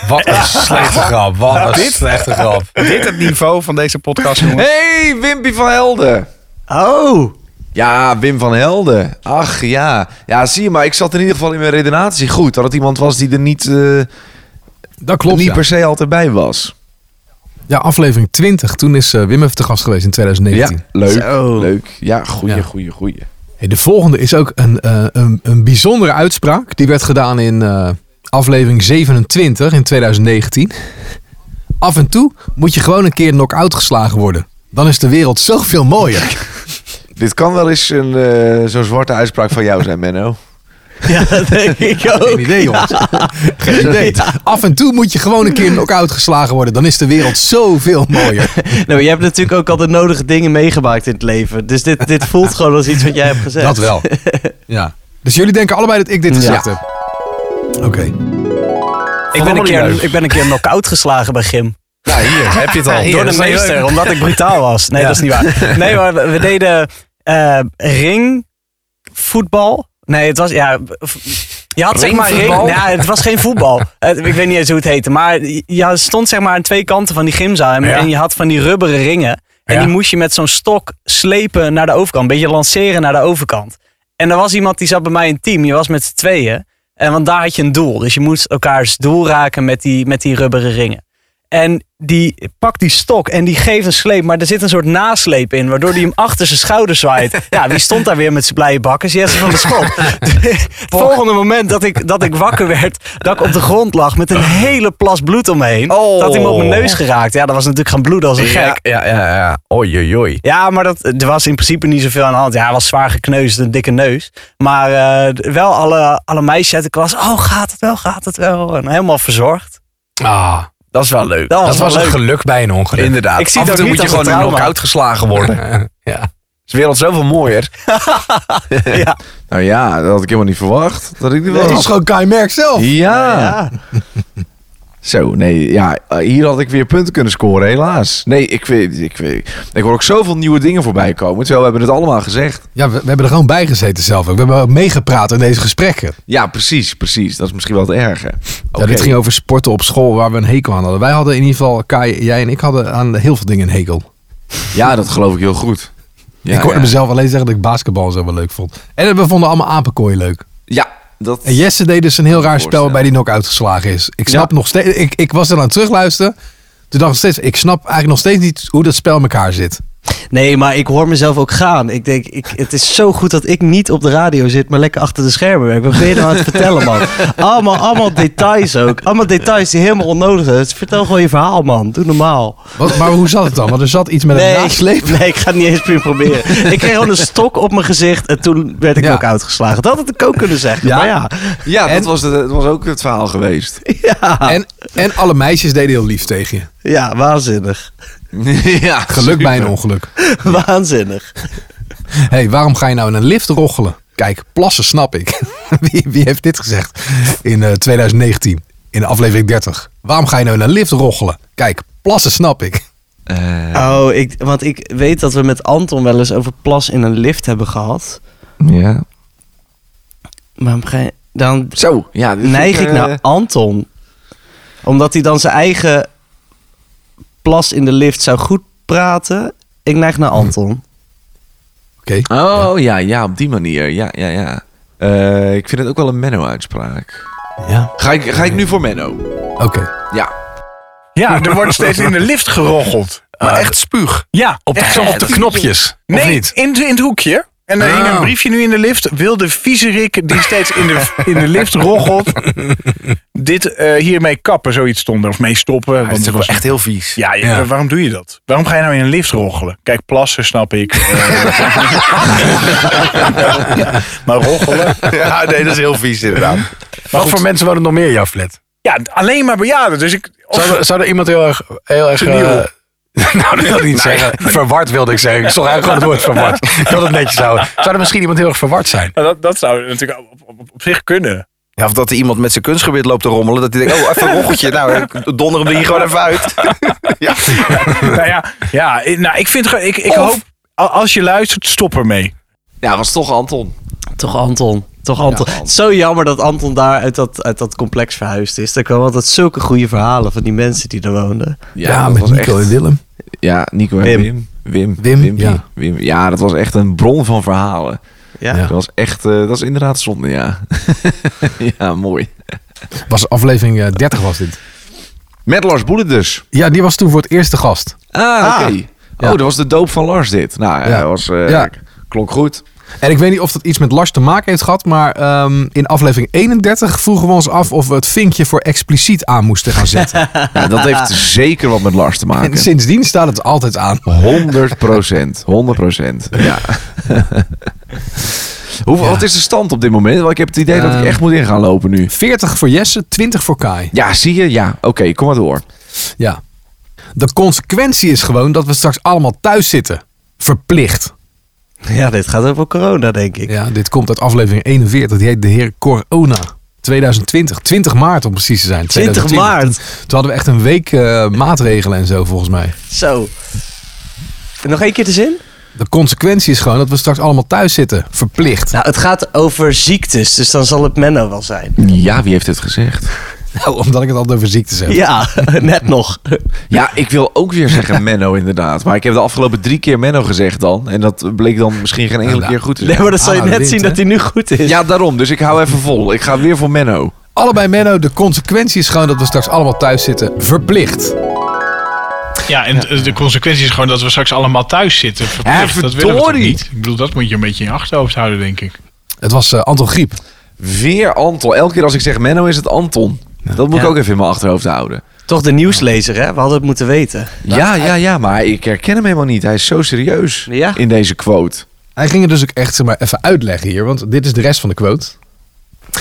[SPEAKER 7] Wat een slechte grap. Wat een slechte grap. Dit het niveau van deze podcast, jongens.
[SPEAKER 3] hey, Wimpy van Helden.
[SPEAKER 4] Oh,
[SPEAKER 3] Ja, Wim van Helden. Ach ja. Ja, zie je, maar ik zat in ieder geval in mijn redenatie goed. Dat het iemand was die er niet, eh,
[SPEAKER 2] Dat klopt,
[SPEAKER 3] niet
[SPEAKER 2] ja.
[SPEAKER 3] per se altijd bij was.
[SPEAKER 2] Ja, aflevering 20. Toen is eh, Wim even te gast geweest in 2019.
[SPEAKER 3] Ja, leuk.
[SPEAKER 4] Zo.
[SPEAKER 3] Leuk. Ja, goeie,
[SPEAKER 2] Ja.
[SPEAKER 3] goeie, goeie.
[SPEAKER 2] Hey, de volgende is ook een, eh, een, een bijzondere uitspraak. Die werd gedaan in eh, aflevering 27 in 2019. Af en toe moet je gewoon een keer knock-out geslagen worden. Dan is de wereld zoveel mooier.
[SPEAKER 3] Dit kan wel eens een, eh, zo'n zwarte uitspraak van jou zijn, Menno.
[SPEAKER 4] ja, dat denk ik ook.
[SPEAKER 2] Geen idee, jongens. Geen idee. Af en toe moet je gewoon een keer knock-out geslagen worden. Dan is de wereld zoveel mooier.
[SPEAKER 4] Nou, je hebt natuurlijk ook al de nodige dingen meegemaakt in het leven. Dus dit, dit voelt gewoon als iets wat jij hebt gezegd.
[SPEAKER 2] Dat wel. Ja. Dus jullie denken allebei dat ik dit gezegd
[SPEAKER 4] Ja.
[SPEAKER 2] heb? Oké.
[SPEAKER 4] Ik ben, een
[SPEAKER 7] Allemaal niet
[SPEAKER 4] keer,
[SPEAKER 7] leuk.
[SPEAKER 4] ik ben een keer knock-out geslagen bij Gym.
[SPEAKER 7] Nou, hier heb je het al.
[SPEAKER 4] Door de meester, omdat ik brutaal was. Nee, dat is niet waar. Nee, maar we deden eh ringvoetbal. Nee, het was... Ja, v- je had zeg maar ring...
[SPEAKER 7] Ringvoetbal?
[SPEAKER 4] Ja, het was geen voetbal. Eh, ik weet niet eens hoe het heette. Maar je stond zeg maar aan twee kanten van die gymzaal. En,
[SPEAKER 5] Ja.
[SPEAKER 4] en je had van die rubberen ringen. En
[SPEAKER 5] Ja.
[SPEAKER 4] die moest je met zo'n stok slepen naar de overkant. Een beetje lanceren naar de overkant. En er was iemand die zat bij mij in het team. Je was met z'n tweeën. En want daar had je een doel. Dus je moest elkaars doel raken met die, met die rubberen ringen. En die pakt die stok en die geeft een sleep. Maar er zit een soort nasleep in, waardoor die hem achter zijn schouder zwaait. Ja, wie stond daar weer met zijn blije bakkers? Jesse van de Schot. Het volgende moment dat ik, dat ik wakker werd, dat ik op de grond lag met een hele plas bloed om me heen.
[SPEAKER 7] Oh.
[SPEAKER 4] Dat hij me op mijn neus geraakt. Ja, dat was natuurlijk gaan bloeden als een
[SPEAKER 7] Ja,
[SPEAKER 4] gek.
[SPEAKER 7] ja, ja. ja. Oei, oei, oei.
[SPEAKER 4] Ja, maar dat, er was in principe niet zoveel aan de hand. Ja, hij was zwaar gekneusd, een dikke neus. Maar eh, wel alle, alle meisjes uit de klas. Oh, gaat het wel, gaat het wel. En helemaal verzorgd.
[SPEAKER 7] Ah, dat is wel leuk.
[SPEAKER 4] Dat was
[SPEAKER 7] Dat
[SPEAKER 4] wel
[SPEAKER 7] was een
[SPEAKER 4] leuk.
[SPEAKER 7] geluk bij een ongeluk. Inderdaad.
[SPEAKER 4] Ik
[SPEAKER 7] Af
[SPEAKER 4] zie
[SPEAKER 7] en
[SPEAKER 4] dat
[SPEAKER 7] toe
[SPEAKER 4] niet
[SPEAKER 7] moet je
[SPEAKER 4] als een
[SPEAKER 7] gewoon een
[SPEAKER 4] trauma.
[SPEAKER 7] knock-out geslagen worden. ja. Is de wereld zoveel mooier.
[SPEAKER 3] Nou ja, dat had ik helemaal niet verwacht. Dat ik die wel
[SPEAKER 2] Dat is
[SPEAKER 3] had.
[SPEAKER 2] gewoon Kai Merk zelf.
[SPEAKER 3] Ja.
[SPEAKER 2] Nou
[SPEAKER 3] Zo, nee, ja, eh, hier had ik weer punten kunnen scoren, helaas. Nee, ik weet, ik weet, ik hoor ook zoveel nieuwe dingen voorbij komen. Terwijl we hebben het allemaal gezegd.
[SPEAKER 2] Ja, we, we hebben er gewoon bij gezeten zelf. ook. We hebben meegepraat in deze gesprekken.
[SPEAKER 3] Ja, precies, precies. Dat is misschien wel het erge. Oké.
[SPEAKER 2] Ja, dit ging over sporten op school waar we een hekel aan hadden. Wij hadden in ieder geval, Kai, jij en ik hadden aan heel veel dingen een hekel.
[SPEAKER 3] Ja, dat geloof ik heel goed. Ja,
[SPEAKER 2] ik hoorde
[SPEAKER 3] ja.
[SPEAKER 2] mezelf alleen zeggen dat ik basketbal zo wel leuk vond. En we vonden allemaal apenkooi leuk.
[SPEAKER 3] Ja, dat...
[SPEAKER 2] En Jesse deed dus een heel raar spel
[SPEAKER 3] Voorstellen.
[SPEAKER 2] waarbij die knock-out geslagen is. Ik snap
[SPEAKER 3] Ja.
[SPEAKER 2] nog steeds, ik, ik was er aan het terugluisteren. Toen dacht ik steeds, ik snap eigenlijk nog steeds niet hoe dat spel in elkaar zit.
[SPEAKER 4] Nee, maar ik hoor mezelf ook gaan. Ik denk, ik, het is zo goed dat ik niet op de radio zit, maar lekker achter de schermen werk. Wat ben je nou aan het vertellen, man? Allemaal, allemaal details ook. Allemaal details die helemaal onnodig zijn. Dus vertel gewoon je verhaal, man. Doe normaal.
[SPEAKER 2] Wat, maar hoe zat het dan? Want er zat iets met een nasleep.
[SPEAKER 4] nee, ik ga het niet eens meer proberen. Ik kreeg gewoon een stok op mijn gezicht en toen werd ik
[SPEAKER 2] Ja.
[SPEAKER 4] ook uitgeslagen. Dat had ik ook kunnen zeggen,
[SPEAKER 2] Ja?
[SPEAKER 4] maar ja.
[SPEAKER 3] Ja, dat
[SPEAKER 2] En-
[SPEAKER 3] was, de, dat was ook het verhaal geweest.
[SPEAKER 2] En, en alle meisjes deden heel lief tegen je.
[SPEAKER 4] Ja, waanzinnig.
[SPEAKER 3] ja,
[SPEAKER 2] Geluk bij een ongeluk.
[SPEAKER 4] Waanzinnig.
[SPEAKER 2] Hé, hey, waarom ga je nou in een lift roggelen? Kijk, plassen snap ik. wie, wie heeft dit gezegd in eh, 2019, in aflevering 30? Waarom ga je nou in een lift roggelen? Kijk, plassen snap ik.
[SPEAKER 3] Eh,
[SPEAKER 4] Oh, ik, want ik weet dat we met Anton wel eens over plas in een lift hebben gehad.
[SPEAKER 3] ja.
[SPEAKER 4] Maar op een gegeven- dan
[SPEAKER 3] Zo, ja. dit
[SPEAKER 4] neig
[SPEAKER 3] vind
[SPEAKER 4] ik naar
[SPEAKER 3] eh,
[SPEAKER 4] Anton. Omdat hij dan zijn eigen plas in de lift zou goed praten. Ik neig naar Anton.
[SPEAKER 2] Oké,
[SPEAKER 3] Oh, ja, ja, op die manier. Ja, ja, ja. Eh, ik vind het ook wel een Menno-uitspraak.
[SPEAKER 2] Ja.
[SPEAKER 3] Ga ik, ga ik nu voor Menno?
[SPEAKER 2] oké.
[SPEAKER 3] Ja.
[SPEAKER 5] Ja, er wordt steeds in de lift geroggeld.
[SPEAKER 7] Ah, Maar echt spuug.
[SPEAKER 5] Ja,
[SPEAKER 7] Op de, op de knopjes.
[SPEAKER 5] nee,
[SPEAKER 7] Of niet? Oh.
[SPEAKER 5] In, in het hoekje. En er hing
[SPEAKER 2] Ah.
[SPEAKER 5] een briefje nu in de lift. Wil de viezerik die steeds in de, in de lift roggelt, dit eh, hiermee kappen, zoiets stond er. Of mee stoppen.
[SPEAKER 7] Dat is
[SPEAKER 5] want
[SPEAKER 7] toch
[SPEAKER 5] het
[SPEAKER 7] wel
[SPEAKER 5] was-
[SPEAKER 7] echt heel vies.
[SPEAKER 5] Ja, ja,
[SPEAKER 2] Ja.
[SPEAKER 5] waarom doe je dat? Waarom ga je nou in een lift roggelen? Kijk, plassen snap ik. Eh, maar roggelen?
[SPEAKER 7] Ja, nee, dat is heel vies inderdaad. Wat voor mensen wonen nog meer in jouw flat?
[SPEAKER 5] Ja, alleen maar bejaarden. Dus ik... of-
[SPEAKER 7] Zou er, zou er iemand heel erg... Heel erg
[SPEAKER 5] Seniel.
[SPEAKER 7] eh, nou, dat wil ik niet zeggen. Verward wilde ik zeggen. Ik stond eigenlijk gewoon het woord verward. Ik wil het netjes houden. Zou er misschien iemand heel erg verward zijn?
[SPEAKER 5] Nou, dat, dat zou natuurlijk op, op, op zich kunnen.
[SPEAKER 3] Ja, of dat er iemand met zijn kunstgebied loopt te rommelen. Dat hij denkt, oh, even een rocheltje. Nou, ik donder hem er hier gewoon even uit. ja.
[SPEAKER 5] nou ja, ja ik- nou, ik vind gewoon- ik, ik
[SPEAKER 3] Of-
[SPEAKER 5] hoop, a- als je luistert, stop ermee.
[SPEAKER 8] Ja, was toch Anton.
[SPEAKER 4] Toch Anton. Toch Anton.
[SPEAKER 8] Ja,
[SPEAKER 4] Het is Zo jammer dat Anton daar uit dat, uit dat complex verhuisd is. Daar kwamen altijd zulke goede verhalen van die mensen die daar woonden.
[SPEAKER 2] Ja, met Nico en Willem.
[SPEAKER 8] Ja, Nico en
[SPEAKER 4] Wim.
[SPEAKER 8] Wim. Wim. Wim.
[SPEAKER 2] Wim, ja.
[SPEAKER 8] ja. Wim. Ja, dat was echt een bron van verhalen.
[SPEAKER 4] Ja.
[SPEAKER 2] Ja.
[SPEAKER 8] Dat was echt, eh, dat is inderdaad zonde, ja. ja, mooi.
[SPEAKER 2] Was aflevering eh, 30 was dit.
[SPEAKER 8] Met Lars Boelen dus.
[SPEAKER 2] Ja, die was toen voor het eerste gast.
[SPEAKER 8] Ah, oké.
[SPEAKER 2] Ja.
[SPEAKER 8] Oh, dat was de doop van Lars dit. Nou, ja,
[SPEAKER 2] Ja.
[SPEAKER 8] dat was, eh,
[SPEAKER 2] Ja.
[SPEAKER 8] klonk goed.
[SPEAKER 2] En ik weet niet of dat iets met Lars te maken heeft gehad, maar ehm, in aflevering 31 vroegen we ons af of we het vinkje voor expliciet aan moesten gaan zetten.
[SPEAKER 8] Ja, dat heeft zeker wat met Lars te
[SPEAKER 2] en
[SPEAKER 8] maken.
[SPEAKER 2] sindsdien staat het altijd aan.
[SPEAKER 3] Oh.
[SPEAKER 8] 100 procent. 100 procent. Ja. Hoe, Wat is de stand op dit moment? Want ik heb het idee dat ik
[SPEAKER 2] Ehm.
[SPEAKER 8] echt moet in gaan lopen nu.
[SPEAKER 2] 40 voor Jesse, 20 voor Kai.
[SPEAKER 8] Ja, zie je? Ja. Oké, kom maar door.
[SPEAKER 2] Ja. De consequentie is gewoon dat we straks allemaal thuis zitten. Verplicht.
[SPEAKER 4] Ja, dit gaat over corona, denk ik.
[SPEAKER 2] Ja, dit komt uit aflevering 41. Die heet De Heer Corona. 2020. 20 maart om precies te zijn.
[SPEAKER 4] 20 maart.
[SPEAKER 2] Toen hadden we echt een week eh, maatregelen en zo volgens mij.
[SPEAKER 4] Zo. En nog één keer de zin?
[SPEAKER 2] De consequentie is gewoon dat we straks allemaal thuis zitten. Verplicht.
[SPEAKER 4] Nou, het gaat over ziektes, dus dan zal het Menno wel zijn.
[SPEAKER 8] Ja, wie heeft het gezegd?
[SPEAKER 2] Nou, omdat ik het altijd over ziektes heb.
[SPEAKER 4] Ja, net nog.
[SPEAKER 8] Ja, ik wil ook weer zeggen Menno inderdaad. Maar ik heb de afgelopen drie keer Menno gezegd dan. En dat bleek dan misschien geen enkele
[SPEAKER 2] Ja,
[SPEAKER 8] keer goed te
[SPEAKER 4] Nee,
[SPEAKER 8] zijn.
[SPEAKER 4] maar dan zal je
[SPEAKER 2] Ah,
[SPEAKER 4] net
[SPEAKER 2] wint,
[SPEAKER 4] zien
[SPEAKER 2] hè?
[SPEAKER 4] dat hij nu goed is.
[SPEAKER 8] Ja, daarom. Dus ik hou even vol. Ik ga weer voor Menno.
[SPEAKER 2] Allebei Menno, de consequentie is gewoon dat we straks allemaal thuis zitten. Verplicht.
[SPEAKER 5] Ja, en de consequentie is gewoon dat we straks allemaal thuis zitten.
[SPEAKER 8] verplicht. Dat
[SPEAKER 5] dat
[SPEAKER 8] willen
[SPEAKER 5] willen
[SPEAKER 8] we toch verdorie. niet?
[SPEAKER 5] niet? Ik bedoel, dat moet je een beetje in je achterhoofd houden, denk ik.
[SPEAKER 2] Het was eh, Anton Griep.
[SPEAKER 8] Weer Anton. Elke keer als ik zeg Menno is het Anton. Dat moet ik
[SPEAKER 4] Ja.
[SPEAKER 8] ook even in mijn achterhoofd houden.
[SPEAKER 4] Toch de nieuwslezer, hè? We hadden het moeten weten.
[SPEAKER 2] Nou,
[SPEAKER 8] ja, ja, ja. Maar ik herken hem helemaal niet. Hij is zo serieus
[SPEAKER 4] Ja.
[SPEAKER 8] in deze quote.
[SPEAKER 2] Hij ging het dus ook echt zeg maar, even uitleggen hier. Want dit is de rest van de quote.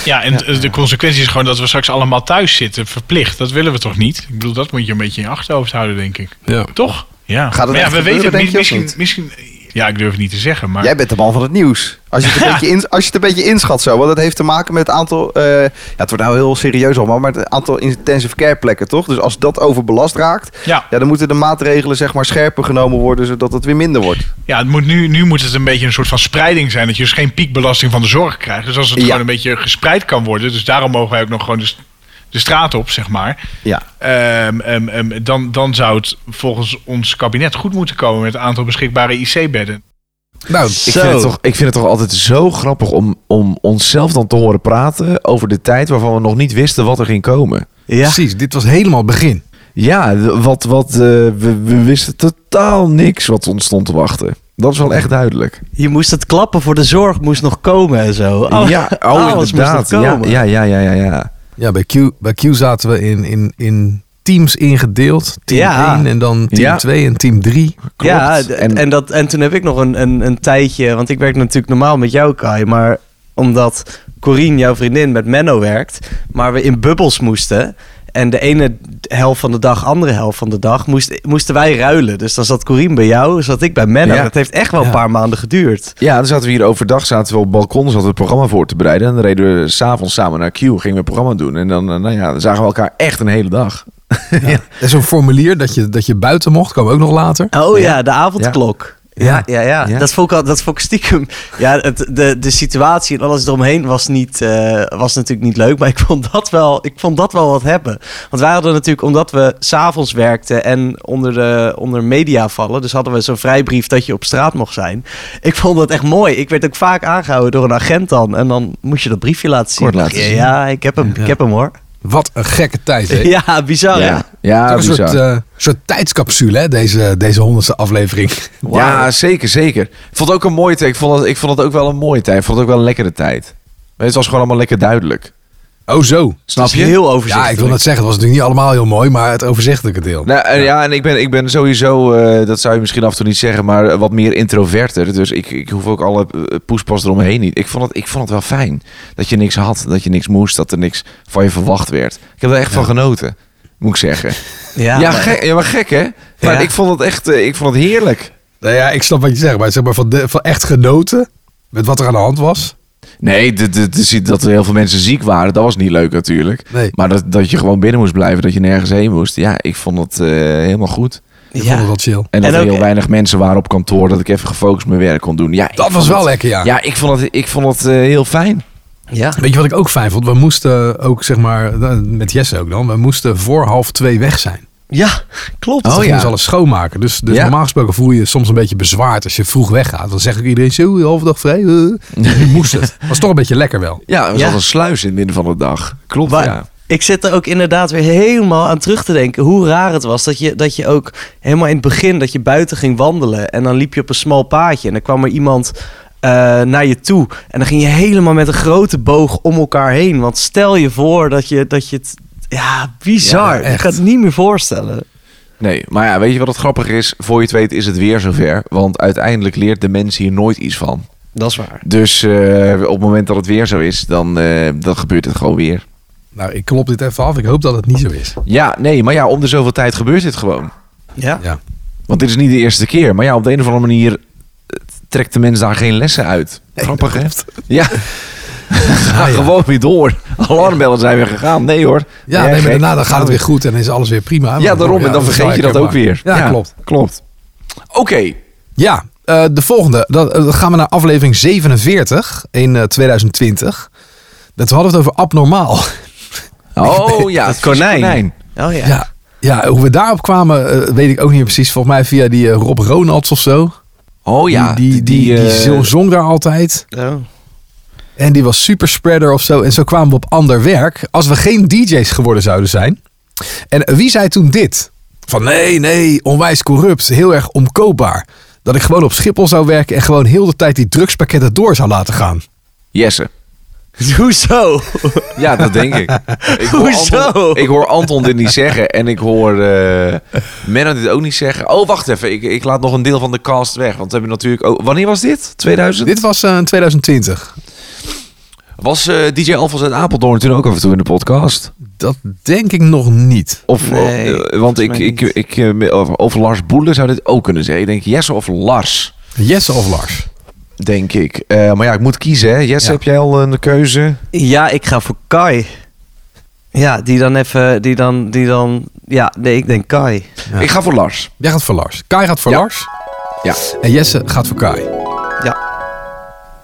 [SPEAKER 5] Ja, en de consequentie is gewoon dat we straks allemaal thuis zitten. Verplicht. Dat willen we toch niet? Ik bedoel, dat moet je een beetje in je achterhoofd houden, denk ik.
[SPEAKER 2] Ja.
[SPEAKER 5] Toch? Ja.
[SPEAKER 3] Gaat het
[SPEAKER 5] Maar ja,
[SPEAKER 3] echt
[SPEAKER 5] we
[SPEAKER 3] gebeuren,
[SPEAKER 5] weten het
[SPEAKER 3] denk
[SPEAKER 5] niet.
[SPEAKER 3] je, of
[SPEAKER 5] Misschien,
[SPEAKER 3] niet?
[SPEAKER 5] misschien. Ja, ik durf het niet te zeggen, maar.
[SPEAKER 3] Jij bent de man van het nieuws. Als je het een, beetje, in, als je het een beetje inschat zo. Want dat heeft te maken met het aantal... eh, ja, het wordt nou heel serieus allemaal. Maar het aantal intensive care plekken, toch? Dus als dat overbelast raakt...
[SPEAKER 5] Ja.
[SPEAKER 3] Ja, dan moeten de maatregelen zeg maar scherper genomen worden... zodat het weer minder wordt.
[SPEAKER 5] Ja, het moet nu, nu moet het een beetje een soort van spreiding zijn. Dat je dus geen piekbelasting van de zorg krijgt. Dus als het
[SPEAKER 3] Ja.
[SPEAKER 5] gewoon een beetje gespreid kan worden. Dus daarom mogen wij ook nog gewoon de, s- de straat op, zeg maar.
[SPEAKER 3] Ja.
[SPEAKER 5] Ehm, ehm, ehm, dan, dan zou het volgens ons kabinet goed moeten komen met het aantal beschikbare IC-bedden.
[SPEAKER 2] Nou,
[SPEAKER 8] Ik vind, het toch, ik vind het toch altijd zo grappig om, om onszelf dan te horen praten over de tijd waarvan we nog niet wisten wat er ging komen.
[SPEAKER 4] Ja.
[SPEAKER 2] precies. Dit was helemaal het begin.
[SPEAKER 8] Ja, d- wat, wat, eh, we, we wisten totaal niks wat ons stond te wachten. Dat is wel echt duidelijk.
[SPEAKER 4] Je moest het klappen voor de zorg, moest nog komen en zo.
[SPEAKER 8] ja,
[SPEAKER 4] alles moest
[SPEAKER 8] oh,
[SPEAKER 4] nog
[SPEAKER 8] inderdaad. Ja,
[SPEAKER 4] komen.
[SPEAKER 8] ja, ja, ja, ja, ja.
[SPEAKER 2] Ja, bij Q, bij Q zaten we in, in, in teams ingedeeld. Team
[SPEAKER 4] Ja.
[SPEAKER 2] 1 en dan team
[SPEAKER 8] Ja.
[SPEAKER 2] 2 en team 3.
[SPEAKER 4] Ja,
[SPEAKER 8] Klopt.
[SPEAKER 4] d- en, dat, en toen heb ik nog een, een, een tijdje, want ik werk natuurlijk normaal met jou, Kai, maar omdat Corine, jouw vriendin, met Menno werkt, maar we in bubbels moesten. En de ene helft van de dag, andere helft van de dag, moest, moesten wij ruilen. Dus dan zat Corine bij jou, zat ik bij Menno.
[SPEAKER 8] Ja.
[SPEAKER 4] Dat heeft echt wel een
[SPEAKER 2] Ja.
[SPEAKER 4] paar maanden geduurd.
[SPEAKER 8] Ja, dan zaten we hier overdag, zaten we op het balkon, zaten we het programma voor te bereiden. En dan reden we s'avonds samen naar Q, gingen we het programma doen. En dan, eh, nou ja, dan zagen we elkaar echt een hele dag.
[SPEAKER 2] En zo'n formulier dat je, dat je buiten mocht, kwam ook nog later.
[SPEAKER 4] Oh ja, de avondklok. Ja, ja, ja.
[SPEAKER 8] Ja.
[SPEAKER 4] Dat, vond ik al, dat vond ik stiekem. Ja, het, de, de situatie en alles eromheen was, niet, eh, was natuurlijk niet leuk. Maar ik vond, dat wel, ik vond dat wel wat hebben. Want wij hadden natuurlijk, omdat we s'avonds werkten en onder, de, onder media vallen. Dus hadden we zo'n vrijbrief dat je op straat mocht zijn. Ik vond dat echt mooi. Ik werd ook vaak aangehouden door een agent dan. En dan moest je dat briefje laten zien.
[SPEAKER 8] Kort laten
[SPEAKER 4] ja,
[SPEAKER 8] zien.
[SPEAKER 4] Ja, ik heb hem, ik heb hem hoor.
[SPEAKER 2] Wat een gekke tijd, hè?
[SPEAKER 4] Oh, Ja, bizar. hè?
[SPEAKER 8] ja, ja
[SPEAKER 2] Het is ook een
[SPEAKER 8] bizar.
[SPEAKER 2] soort, eh, soort tijdscapsule, hè, deze, deze honderdste aflevering.
[SPEAKER 8] Ja, zeker, zeker. Ik vond het ook een mooie tijd. Ik vond het, ik vond het ook wel een mooie tijd. Ik vond het ook wel een lekkere tijd. Maar Het was gewoon allemaal lekker duidelijk.
[SPEAKER 2] Oh, zo.
[SPEAKER 8] Snap
[SPEAKER 4] Het
[SPEAKER 8] je?
[SPEAKER 4] is heel
[SPEAKER 2] Ja,
[SPEAKER 4] overzichtelijk.
[SPEAKER 2] ik wil net zeggen, het was natuurlijk niet allemaal heel mooi, maar het overzichtelijke deel.
[SPEAKER 8] Nou, eh, ja. en ik ben, ik ben sowieso, eh, dat zou je misschien af en toe niet zeggen, maar eh, wat meer introverter. Dus ik, ik hoef ook alle eh, poespas eromheen niet. Ik vond, het, ik vond het wel fijn dat je niks had, dat je niks moest, dat er niks van je verwacht werd. Ik heb er echt van genoten, moet ik zeggen. Ja,
[SPEAKER 4] maar-
[SPEAKER 8] gek, ja maar gek hè? Maar
[SPEAKER 4] Ja.
[SPEAKER 8] ik vond het echt, eh, ik vond het heerlijk.
[SPEAKER 2] Nou ja, ik snap wat je zegt, maar, zeg maar van, de, van echt genoten met wat er aan de hand was.
[SPEAKER 8] Nee, dit- dit- dit is- dat er heel veel mensen ziek waren, dat was niet leuk natuurlijk.
[SPEAKER 2] Nee.
[SPEAKER 8] Maar dat, dat je gewoon binnen moest blijven, dat je nergens heen moest. Ja, ik vond het eh, helemaal goed.
[SPEAKER 2] Ik vond het wel chill.
[SPEAKER 8] En dat
[SPEAKER 4] En
[SPEAKER 8] er
[SPEAKER 4] ook-
[SPEAKER 8] heel weinig mensen waren op kantoor, dat ik even gefocust mijn werk kon doen. Ja, ik
[SPEAKER 2] Dat
[SPEAKER 8] vond
[SPEAKER 2] was wel
[SPEAKER 8] het-
[SPEAKER 2] lekker, ja.
[SPEAKER 8] Ja, ik vond het, ik vond het eh, heel fijn.
[SPEAKER 4] Ja.
[SPEAKER 2] Weet je wat ik ook fijn vond? We moesten ook, zeg maar, eh, met Jesse ook dan, we moesten voor half twee weg zijn.
[SPEAKER 4] Ja, klopt.
[SPEAKER 2] Dus
[SPEAKER 8] Oh,
[SPEAKER 2] oh, gingen
[SPEAKER 8] ja.
[SPEAKER 2] ze alles schoonmaken. Dus, dus
[SPEAKER 8] Ja.
[SPEAKER 2] normaal gesproken voel je je soms een beetje bezwaard als je vroeg weggaat. Dan zegt ook iedereen, zo, halve dag vrij. eh." Nu moest het. Was toch een beetje lekker wel.
[SPEAKER 8] Ja, er was
[SPEAKER 4] Ja.
[SPEAKER 8] al een sluis in het midden van de dag. Klopt,
[SPEAKER 4] Maar
[SPEAKER 8] ja.
[SPEAKER 4] ik zit er ook inderdaad weer helemaal aan terug te denken hoe raar het was dat je, dat je ook helemaal in het begin dat je buiten ging wandelen en dan liep je op een smal paadje en dan kwam er iemand eh, naar je toe en dan ging je helemaal met een grote boog om elkaar heen. Want stel je voor dat je, dat je het... Ja, bizar.
[SPEAKER 2] Ja, echt.
[SPEAKER 4] ik kan het niet meer voorstellen.
[SPEAKER 8] Nee, maar ja, weet je wat het grappige is? Voor je het weet is het weer zover. Want uiteindelijk leert de mens hier nooit iets van.
[SPEAKER 4] Dat is waar.
[SPEAKER 8] Dus eh, op het moment dat het weer zo is, dan, eh, dan gebeurt het gewoon weer.
[SPEAKER 2] Nou, ik klop dit even af. Ik hoop dat het niet zo is.
[SPEAKER 8] Ja, nee, maar ja, om de zoveel tijd gebeurt dit gewoon.
[SPEAKER 4] Ja.
[SPEAKER 2] Ja.
[SPEAKER 8] Want dit is niet de eerste keer. Maar ja, op de een of andere manier eh, trekt de mens daar geen lessen uit. Grappig, hè? Ja. Ga
[SPEAKER 2] ja.
[SPEAKER 8] gewoon weer door. Alarmbellen zijn weer gegaan. Nee hoor.
[SPEAKER 2] Ja,
[SPEAKER 8] Ben jij
[SPEAKER 2] nee, maar
[SPEAKER 8] gek?
[SPEAKER 2] daarna dan gaat het weer goed en is alles weer prima.
[SPEAKER 8] Nou, Ja, daarom. En dan
[SPEAKER 2] is
[SPEAKER 8] vergeet
[SPEAKER 2] wel
[SPEAKER 8] je dat ook
[SPEAKER 2] herkenbaar.
[SPEAKER 8] weer.
[SPEAKER 2] Ja, klopt.
[SPEAKER 8] Klopt. Oké.
[SPEAKER 2] Ja, eh, de volgende. Dan eh, dan gaan we naar aflevering 47 in eh, 2020. Dat we hadden het over abnormaal.
[SPEAKER 8] Oh ja,
[SPEAKER 4] Het konijn. Oh ja.
[SPEAKER 2] Ja, ja hoe we daarop kwamen, eh, weet ik ook niet meer precies. Volgens mij via die eh, Rob Ronalds of zo.
[SPEAKER 8] Oh ja.
[SPEAKER 2] die, die, die, die
[SPEAKER 8] eh,
[SPEAKER 2] zo- zong daar altijd.
[SPEAKER 4] Oh.
[SPEAKER 2] En die was superspreader of zo. En zo kwamen we op ander werk. Als we geen DJ's geworden zouden zijn. En wie zei toen dit? Van nee, nee, onwijs corrupt. Heel erg omkoopbaar. Dat ik gewoon op Schiphol zou werken en gewoon heel de tijd die drugspakketten door zou laten gaan.
[SPEAKER 8] Jesse.
[SPEAKER 4] Hoezo?
[SPEAKER 8] Ja, dat denk ik. ik hoor
[SPEAKER 4] Hoezo?
[SPEAKER 8] Anton, ik hoor Anton dit niet zeggen en ik hoor eh Menno dit ook niet zeggen. Oh, wacht even. Ik, ik laat nog een deel van de cast weg. Want we hebben natuurlijk ook... Wanneer was dit? 2000?
[SPEAKER 2] Dit was eh, in 2020.
[SPEAKER 8] Was eh, DJ Alfons uit Apeldoorn toen ook af en toe in de podcast?
[SPEAKER 2] Dat denk ik nog niet.
[SPEAKER 8] Of,
[SPEAKER 4] Nee,
[SPEAKER 8] eh, want ik,
[SPEAKER 4] volgens mij
[SPEAKER 8] ik,
[SPEAKER 4] niet.
[SPEAKER 8] ik, eh, of, of Lars Boelen zou dit ook kunnen zeggen. Ik denk Jesse of Lars,
[SPEAKER 2] Jesse of Lars?
[SPEAKER 8] denk ik. Eh, maar ja, ik moet kiezen. Hè. Jesse,
[SPEAKER 2] Ja.
[SPEAKER 8] heb jij al een keuze?
[SPEAKER 4] Ja, ik ga voor Kai. Ja, die dan even, die dan, die dan, ja, nee, ik denk Kai.
[SPEAKER 2] Ja.
[SPEAKER 8] Ik ga voor Lars.
[SPEAKER 2] Jij gaat voor Lars. Kai gaat voor
[SPEAKER 8] Ja.
[SPEAKER 2] Lars.
[SPEAKER 8] Ja. Oh,
[SPEAKER 2] En Jesse gaat voor Kai.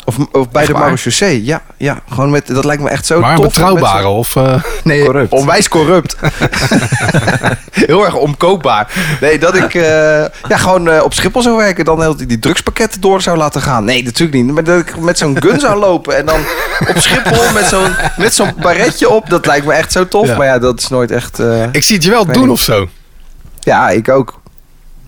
[SPEAKER 3] Of, of bij
[SPEAKER 8] Echt
[SPEAKER 3] de
[SPEAKER 8] waar?
[SPEAKER 3] marechaussee. Ja, ja. Gewoon met, dat lijkt me echt zo
[SPEAKER 2] maar een
[SPEAKER 3] tof.
[SPEAKER 2] betrouwbare of... eh,
[SPEAKER 3] Nee,
[SPEAKER 8] Corrupt.
[SPEAKER 3] onwijs corrupt. heel erg omkoopbaar. Nee, dat ik eh, ja, gewoon eh, op Schiphol zou werken. Dan heel die, die drugspakketten door zou laten gaan. Nee, natuurlijk niet. Maar dat ik met zo'n gun zou lopen. En dan op Schiphol met zo'n, met zo'n baretje op. Dat lijkt me echt zo tof.
[SPEAKER 2] Ja.
[SPEAKER 3] Maar ja, dat is nooit echt... eh,
[SPEAKER 2] ik zie het je wel
[SPEAKER 3] weet
[SPEAKER 2] doen
[SPEAKER 3] niet.
[SPEAKER 2] of zo.
[SPEAKER 3] ja, ik ook.